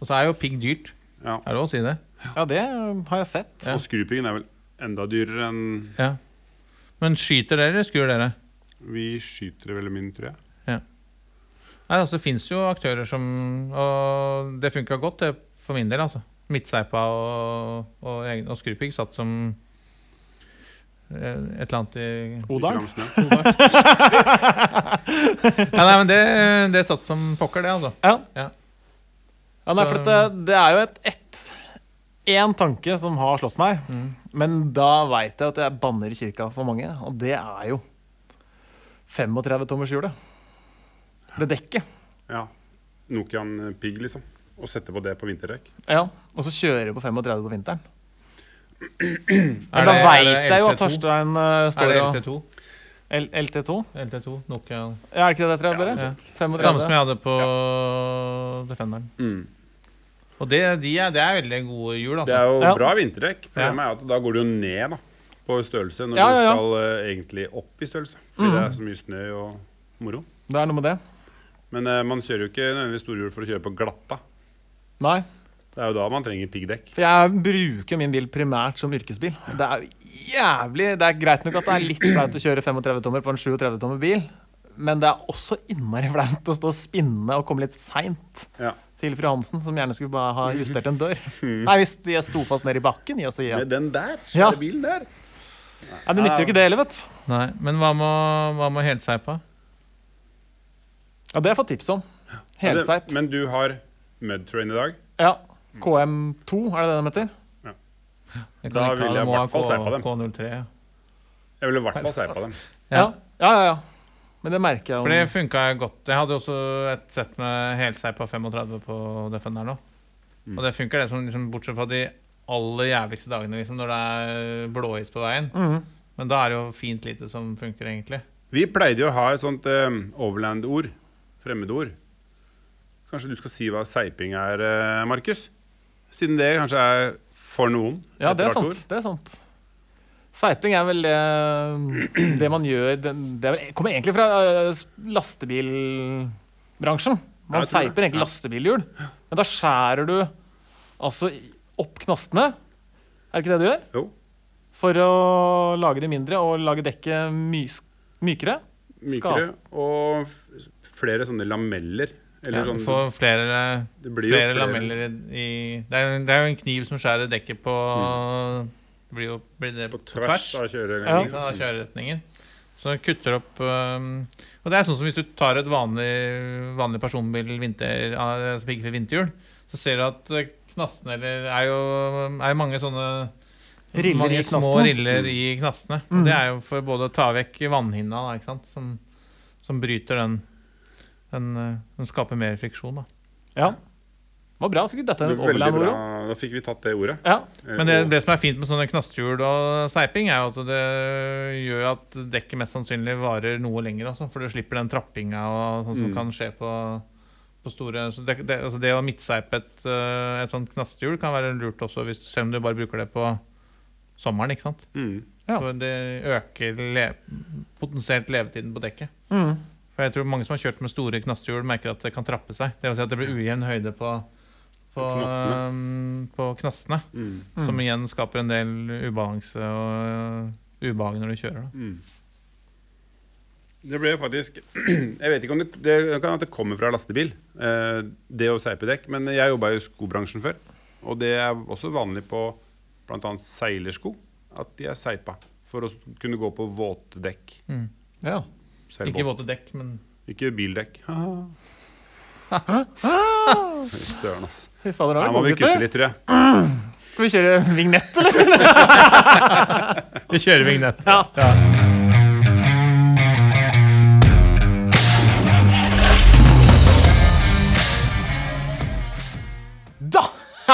Speaker 1: Og så er jo pigg dyrt.
Speaker 3: Ja.
Speaker 1: Er det lov å si det? eh,
Speaker 4: ja, det har jeg sett.
Speaker 1: Ja.
Speaker 3: Og skrupiggen er vel enda dyrere enn
Speaker 1: Ja. Men skyter dere, eller skrur dere?
Speaker 3: vi skyter det veldig mye, tror jeg.
Speaker 1: Nei, altså, Det fins jo aktører som Og det funka godt, det, for min del. altså. Midtseipa og, og, egen- og skrupigg satt som eh, et eller annet i
Speaker 4: Odal?
Speaker 3: Ikke langs med.
Speaker 1: Nei, nei, men det, det satt som pokker, det, altså.
Speaker 4: Ja.
Speaker 1: Ja.
Speaker 4: Ja, nei,
Speaker 1: Så-
Speaker 4: for at eh, det, det er jo et ett Én tanke som har slått meg,
Speaker 1: Mm.
Speaker 4: men da veit jeg at jeg banner i kirka for mange, og det er jo 35-tommershjulet. Det dekket.
Speaker 3: Ja. Nokian Pigg, liksom. Og sette på det på vinterdekk.
Speaker 4: Ja. Og så kjører jeg på 35 på vinteren.
Speaker 1: Er
Speaker 4: Men da
Speaker 1: det- er
Speaker 4: veit
Speaker 1: det
Speaker 4: jeg jo at
Speaker 1: LT2?
Speaker 4: Torstein eh,
Speaker 1: Er
Speaker 4: står
Speaker 1: det
Speaker 4: og
Speaker 1: LT2?
Speaker 4: L- LT2?
Speaker 1: LT2, Nokia
Speaker 4: Ja, er det ikke det dere
Speaker 3: Ja,
Speaker 4: dere?
Speaker 1: ja. Samme som
Speaker 4: 35?
Speaker 1: jeg hadde på Defenderen. Og det, de er, det er veldig gode hjul,
Speaker 3: Mm. Det
Speaker 1: altså.
Speaker 3: er jo
Speaker 4: Ja.
Speaker 3: bra vinterdekk. Problemet er at da går det jo ned da, på størrelse når
Speaker 4: Ja, ja, Mhm. ja.
Speaker 3: du skal eh, egentlig opp i størrelse. Fordi det er så mye snø og moro.
Speaker 4: Det er noe med det?
Speaker 3: Men eh, man kjører jo ikke nødvendigvis storhjul for å kjøre på glatta.
Speaker 4: Nei.
Speaker 3: Det er jo da man trenger piggdekk.
Speaker 4: For jeg bruker min bil primært som yrkesbil. Det er jo jævlig Det er greit nok at det er litt flaut å kjøre 35-tommer på en 37-tommer bil, men det er også innmari flaut å stå og spinne og komme litt seint
Speaker 3: Ja.
Speaker 4: til fru Hansen, som gjerne skulle bare ha justert en dør. Nei, hvis jeg sto fast nede i bakken, ja, så ja.
Speaker 3: Med den der,
Speaker 4: Ja.
Speaker 3: svære bilen der.
Speaker 4: Nei, det nytter jo ikke det heller, vet du.
Speaker 1: Nei, men hva med, hva med helseipa?
Speaker 4: Ja, det har jeg fått tips om. Helseip.
Speaker 3: Men du har mudtrain i dag.
Speaker 4: Ja. KM2, er det det de heter?
Speaker 1: Jeg kan
Speaker 3: Da
Speaker 1: ikke ha-
Speaker 3: ville jeg
Speaker 1: må
Speaker 3: i
Speaker 1: ha
Speaker 3: hvert fall
Speaker 1: K-
Speaker 3: seipa dem.
Speaker 1: K03, ja.
Speaker 3: Jeg ville i hvert fall seipa dem.
Speaker 4: Ja.
Speaker 1: Ja.
Speaker 4: ja, ja, ja. Men det merker jeg
Speaker 1: For det
Speaker 4: jo.
Speaker 1: funka godt. Jeg hadde også et sett med helseipa 35 på Defenderen òg.
Speaker 3: Mm.
Speaker 1: Og det funker, det, som liksom, bortsett fra de aller jævligste dagene liksom, når det er blåis på veien.
Speaker 3: Mm.
Speaker 1: Men da er det jo fint lite som funker, egentlig.
Speaker 3: Vi pleide jo å ha et sånt eh, overland-ord. Fremmedord. Kanskje du skal si hva seiping er, eh, Markus? Siden det kanskje er for noen.
Speaker 4: Ja,
Speaker 3: et
Speaker 4: det er
Speaker 3: rart
Speaker 4: sant.
Speaker 3: ord.
Speaker 4: Det er sant. Seiping er vel eh, det man gjør Det det er vel, kommer egentlig fra eh, s- lastebilbransjen. Man
Speaker 3: Jeg tror det.
Speaker 4: seiper egentlig lastebilhjul, men da skjærer du altså i- opp knastene. Er det ikke det du gjør?
Speaker 3: Jo.
Speaker 4: For å lage de mindre og lage dekket mys mykere.
Speaker 3: Mykere og f- flere sånne lameller.
Speaker 1: Ja,
Speaker 3: Eller
Speaker 1: du
Speaker 3: sånn
Speaker 1: får flere,
Speaker 3: Det
Speaker 1: flere,
Speaker 3: blir jo flere.
Speaker 1: lameller i, i det, er, jo- det er jo en kniv som skjærer dekket på Det blir jo blir det
Speaker 3: Mm. på tvers av
Speaker 4: Ja.
Speaker 1: ikke sant, Liksom,
Speaker 3: kjøreretningen.
Speaker 1: av kjøreretningen. Så den kutter opp øhm, Og det er sånn som hvis du tar et vanlig, vanlig personbil vinter, altså piggfritt vinterhjul, så ser du at øh, knastene eller er jo er jo mange sånne
Speaker 4: Riller
Speaker 1: mange
Speaker 4: i
Speaker 1: små
Speaker 4: knastene.
Speaker 1: riller i knastene. Og det er jo for både å ta vekk vannhinna, da, ikke sant, som, som bryter den den, øh, den skaper mer friksjon, da.
Speaker 4: Ja. Det var bra. Fikk du dette
Speaker 3: Det
Speaker 4: en
Speaker 3: er Veldig
Speaker 4: overland
Speaker 3: bra
Speaker 4: oro
Speaker 3: da fikk vi tatt det ordet.
Speaker 4: Ja.
Speaker 3: Eh,
Speaker 1: Men det,
Speaker 3: og-
Speaker 1: det som er fint med sånne knasthjul og seiping, er jo at det gjør at dekket mest sannsynlig varer noe lenger også, for du slipper den trappinga og sånn som kan skje på, på store så det, det, altså det å midtseipe et, eh, et sånt knasthjul kan være lurt også, hvis, selv om du bare bruker det på sommeren. ikke sant?
Speaker 3: Mm.
Speaker 4: Ja.
Speaker 1: Så det øker le, potensielt levetiden på dekket.
Speaker 4: Mm.
Speaker 1: For jeg tror mange som har kjørt med store knasthjul, merker at det kan trappe seg. Det vil si at det blir ujevn høyde på, på,
Speaker 3: knottene.
Speaker 1: ehm, på knastene.
Speaker 3: Mm.
Speaker 1: Som igjen skaper en del ubalanse og øh, ubehag når du kjører. Da.
Speaker 3: mm. Det ble faktisk Jeg vet ikke om det, det kan hende at det kommer fra lastebil, eh, det å seipe dekk. Men jeg jobba i skobransjen før, og det er også vanlig på bl.a. seilersko at de er seipa for å kunne gå på våte dekk.
Speaker 4: ja.
Speaker 3: Seilbåt.
Speaker 1: Ikke våte dekk, men
Speaker 3: Ikke bildekk. Fy Søren, ass.
Speaker 4: Fy fader, da
Speaker 3: Her
Speaker 4: er
Speaker 3: må
Speaker 4: vi
Speaker 3: vi
Speaker 4: gode
Speaker 3: kutte
Speaker 4: gutter.
Speaker 3: litt, tror jeg.
Speaker 4: Skal vi kjøre vignett, eller?
Speaker 1: Vi kjører vignett.
Speaker 4: Da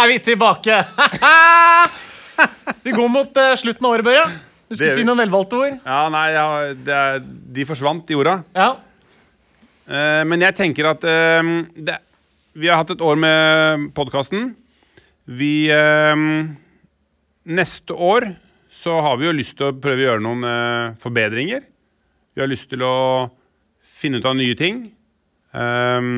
Speaker 4: er vi tilbake! vi går mot eh, slutten av året, Børre. Du
Speaker 3: Det
Speaker 4: skulle
Speaker 3: gjør
Speaker 4: si
Speaker 3: vi.
Speaker 4: noen velvalgte ord.
Speaker 3: Ja, nei, ja, det er, De forsvant i jorda.
Speaker 4: Ja.
Speaker 3: Eh, men jeg tenker at eh, det, Vi har hatt et år med podkasten. Vi eh, Neste år så har vi jo lyst til å prøve å gjøre noen eh, forbedringer. Vi har lyst til å finne ut av nye ting. Ehm,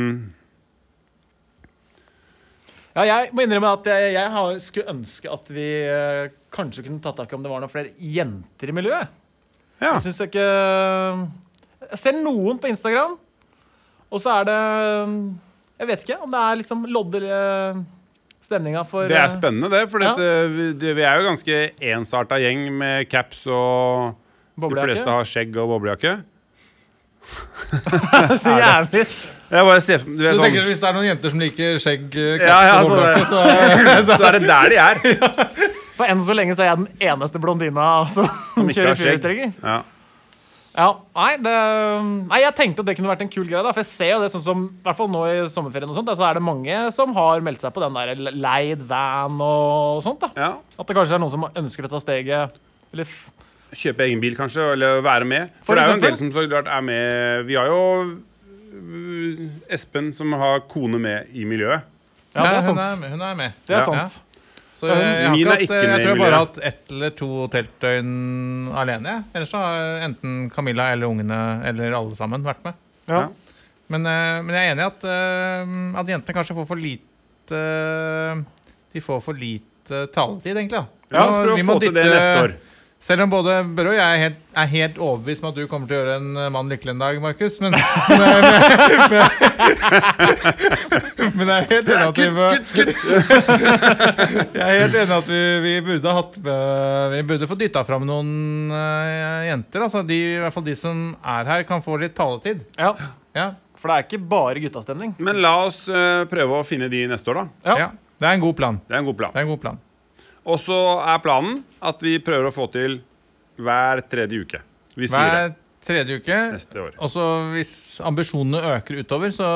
Speaker 4: ja, jeg må innrømme at jeg, jeg har, skulle ønske at vi eh, kanskje kunne tatt tak i om det var noen flere jenter i miljøet.
Speaker 3: ja.
Speaker 4: Jeg syns ikke Jeg ser noen på Instagram, og så er det Jeg vet ikke om det er liksom lodder eh, stemninga for
Speaker 3: Det
Speaker 4: eh,
Speaker 3: er spennende, det. For
Speaker 4: Ja.
Speaker 3: dette, vi, det, vi er jo ganske ensarta gjeng med caps og
Speaker 4: Boblejakke.
Speaker 3: De fleste har skjegg og boblejakke.
Speaker 4: så jævlig.
Speaker 3: Jeg bare ser, du vet,
Speaker 1: Du
Speaker 3: sånn,
Speaker 1: tenker så Hvis det er noen jenter som liker skjegg, øh,
Speaker 3: ja, altså ja,
Speaker 1: caps og
Speaker 3: så,
Speaker 1: hårdokke, så
Speaker 3: det, så er det der de er.
Speaker 4: For enn så lenge så er jeg den eneste blondina altså, som
Speaker 3: Som ikke
Speaker 4: kjører
Speaker 3: har skjegg.
Speaker 4: firehjulstrekker.
Speaker 3: Ja.
Speaker 4: Ja, nei, det, nei, jeg tenkte at det kunne vært en kul greie. Da, for jeg ser jo det sånn som, i hvert fall nå i sommerferien, og sånt, da, så er det mange som har meldt seg på den der leid van og sånt. da.
Speaker 3: Ja.
Speaker 4: At det kanskje er noen som ønsker å ta steget. Eller f
Speaker 3: Kjøpe egen bil, kanskje, eller være med. For,
Speaker 4: For
Speaker 3: det er jo en
Speaker 4: eksempel?
Speaker 3: del som så klart er med Vi har jo øh, Espen, som har kone med i miljøet.
Speaker 4: ja, det er
Speaker 1: hun,
Speaker 4: sant.
Speaker 1: er, med- hun er med.
Speaker 4: Det er
Speaker 3: Ja.
Speaker 4: sant.
Speaker 1: Så jeg, jeg, har
Speaker 3: Min er
Speaker 1: ikke hatt,
Speaker 3: ikke
Speaker 1: øh,
Speaker 3: med
Speaker 1: jeg
Speaker 3: i
Speaker 1: tror jeg bare har
Speaker 3: miljøet.
Speaker 1: hatt ett eller to teltdøgn alene. jeg. Ellers så har eh, enten Camilla eller ungene eller alle sammen vært med.
Speaker 4: Ja.
Speaker 3: Ja.
Speaker 1: Men, eh, men jeg er enig i at, eh, at jentene kanskje får for lite eh, De får for lite taletid, egentlig. da. Vi
Speaker 3: Ja,
Speaker 1: må-
Speaker 3: så prøv
Speaker 1: vi
Speaker 3: å
Speaker 1: må
Speaker 3: få til det
Speaker 1: dytte-
Speaker 3: neste år.
Speaker 1: Selv om både Børre og jeg er helt, er helt overbevist om at du kommer til å gjøre en eh, mann lykkelig en dag, Markus. Men, men, men, men jeg er helt enig at vi, bør- jeg er helt enig i at vi, vi burde hatt med- Vi burde få dytta fram noen eh, jenter. Altså de, i hvert fall de som er her, kan få litt taletid.
Speaker 4: Ja.
Speaker 1: Ja,
Speaker 4: For det er ikke bare guttastemning.
Speaker 3: Men la oss øh, prøve å finne de neste år, da.
Speaker 4: Ja.
Speaker 1: ja. Det er en god plan.
Speaker 3: Det er en god plan.
Speaker 1: Det er en god plan.
Speaker 3: Og så er planen at vi prøver å få til hver tredje uke. Vi sier det
Speaker 1: Hver tredje uke.
Speaker 3: neste år.
Speaker 1: Og så hvis ambisjonene øker utover, så,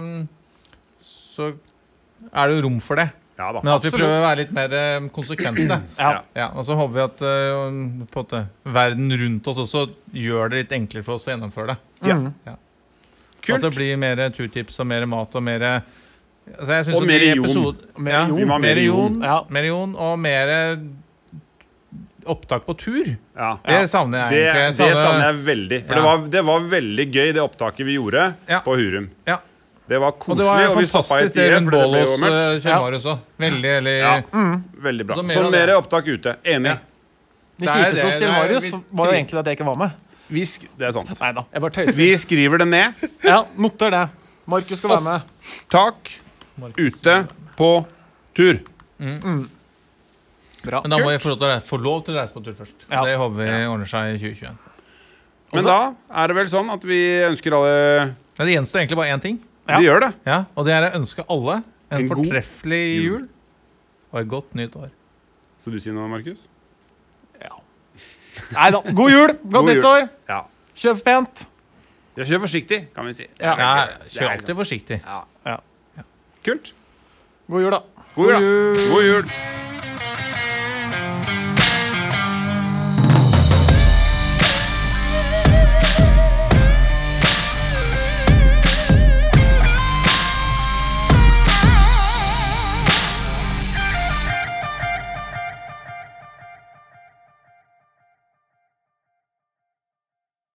Speaker 1: mm, så er det jo rom for det.
Speaker 3: Ja da.
Speaker 1: Men at vi
Speaker 4: Absolutt.
Speaker 1: prøver å være litt mer eh, konsekvente.
Speaker 4: Ja.
Speaker 1: Ja, og så håper vi at eh, på en måte, verden rundt oss også gjør det litt enklere for oss å gjennomføre det.
Speaker 3: Ja.
Speaker 1: Mm. Ja. At det
Speaker 3: Kult.
Speaker 1: blir mer turtips og mer mat og mer altså jeg synes
Speaker 3: Og
Speaker 1: at
Speaker 3: mer
Speaker 1: de
Speaker 3: jon.
Speaker 1: episod-
Speaker 4: Mer
Speaker 1: Ja,
Speaker 4: jon.
Speaker 3: Vi må ha mer
Speaker 1: mer jon.
Speaker 4: Ja.
Speaker 1: Mer jon og mer eh, opptak på tur.
Speaker 3: Ja.
Speaker 1: Det savner
Speaker 3: Det,
Speaker 1: jeg egentlig. Jeg
Speaker 3: det savner jeg veldig. For
Speaker 1: Ja.
Speaker 3: det, var, det var veldig gøy, det opptaket vi gjorde
Speaker 1: Ja.
Speaker 3: på Hurum.
Speaker 1: Ja.
Speaker 3: Det var
Speaker 1: Og
Speaker 3: koselig,
Speaker 1: det
Speaker 3: og,
Speaker 1: var jo
Speaker 3: vi stoppa i
Speaker 1: fantastisk det
Speaker 3: tide,
Speaker 1: rundt
Speaker 3: for det ble jo
Speaker 1: Bålås
Speaker 3: mørkt.
Speaker 1: eh, Kjellmar også. Veldig, eller
Speaker 3: Ja. Veldig bra.
Speaker 1: Så
Speaker 3: Så
Speaker 1: mer
Speaker 3: mer,
Speaker 1: av det.
Speaker 3: opptak ute. Enig.
Speaker 1: Ja.
Speaker 4: Det
Speaker 1: Det er
Speaker 4: kjipeste hos
Speaker 1: det, det
Speaker 4: Kjell
Speaker 1: er
Speaker 4: Marius
Speaker 1: litt
Speaker 4: var jo
Speaker 1: kjipt.
Speaker 4: egentlig at jeg ikke var med.
Speaker 3: Vi sk det er sant.
Speaker 4: Nei da, jeg bare tøyser.
Speaker 3: Vi skriver det ned.
Speaker 4: Ja, noter det. Markus skal være med.
Speaker 3: Tak ute på tur.
Speaker 4: Bra.
Speaker 1: Men da må vi få lov til å reise, få lov til å reise på tur først.
Speaker 4: Ja.
Speaker 1: Det håper vi ordner seg i 2021.
Speaker 3: Men da er det vel sånn at vi ønsker alle
Speaker 1: Men det gjenstår egentlig bare én ting,
Speaker 4: Ja.
Speaker 3: Vi gjør det.
Speaker 1: ja, og det er å ønske alle en,
Speaker 3: En god
Speaker 1: fortreffelig
Speaker 3: jul.
Speaker 1: jul og et godt nytt år.
Speaker 3: Så du sier noe, Markus?
Speaker 4: Ja. Nei da. God jul,
Speaker 3: God
Speaker 4: godt
Speaker 3: jul.
Speaker 4: nyttår.
Speaker 3: Ja.
Speaker 4: Kjøp pent.
Speaker 3: Ja, Kjør forsiktig, kan vi si.
Speaker 4: Ja.
Speaker 1: Ja,
Speaker 3: Det er
Speaker 1: kjør
Speaker 3: liksom-
Speaker 1: alltid forsiktig.
Speaker 3: Ja.
Speaker 4: Ja.
Speaker 3: Kult.
Speaker 4: God jul, da.
Speaker 3: God jul, da. God jul.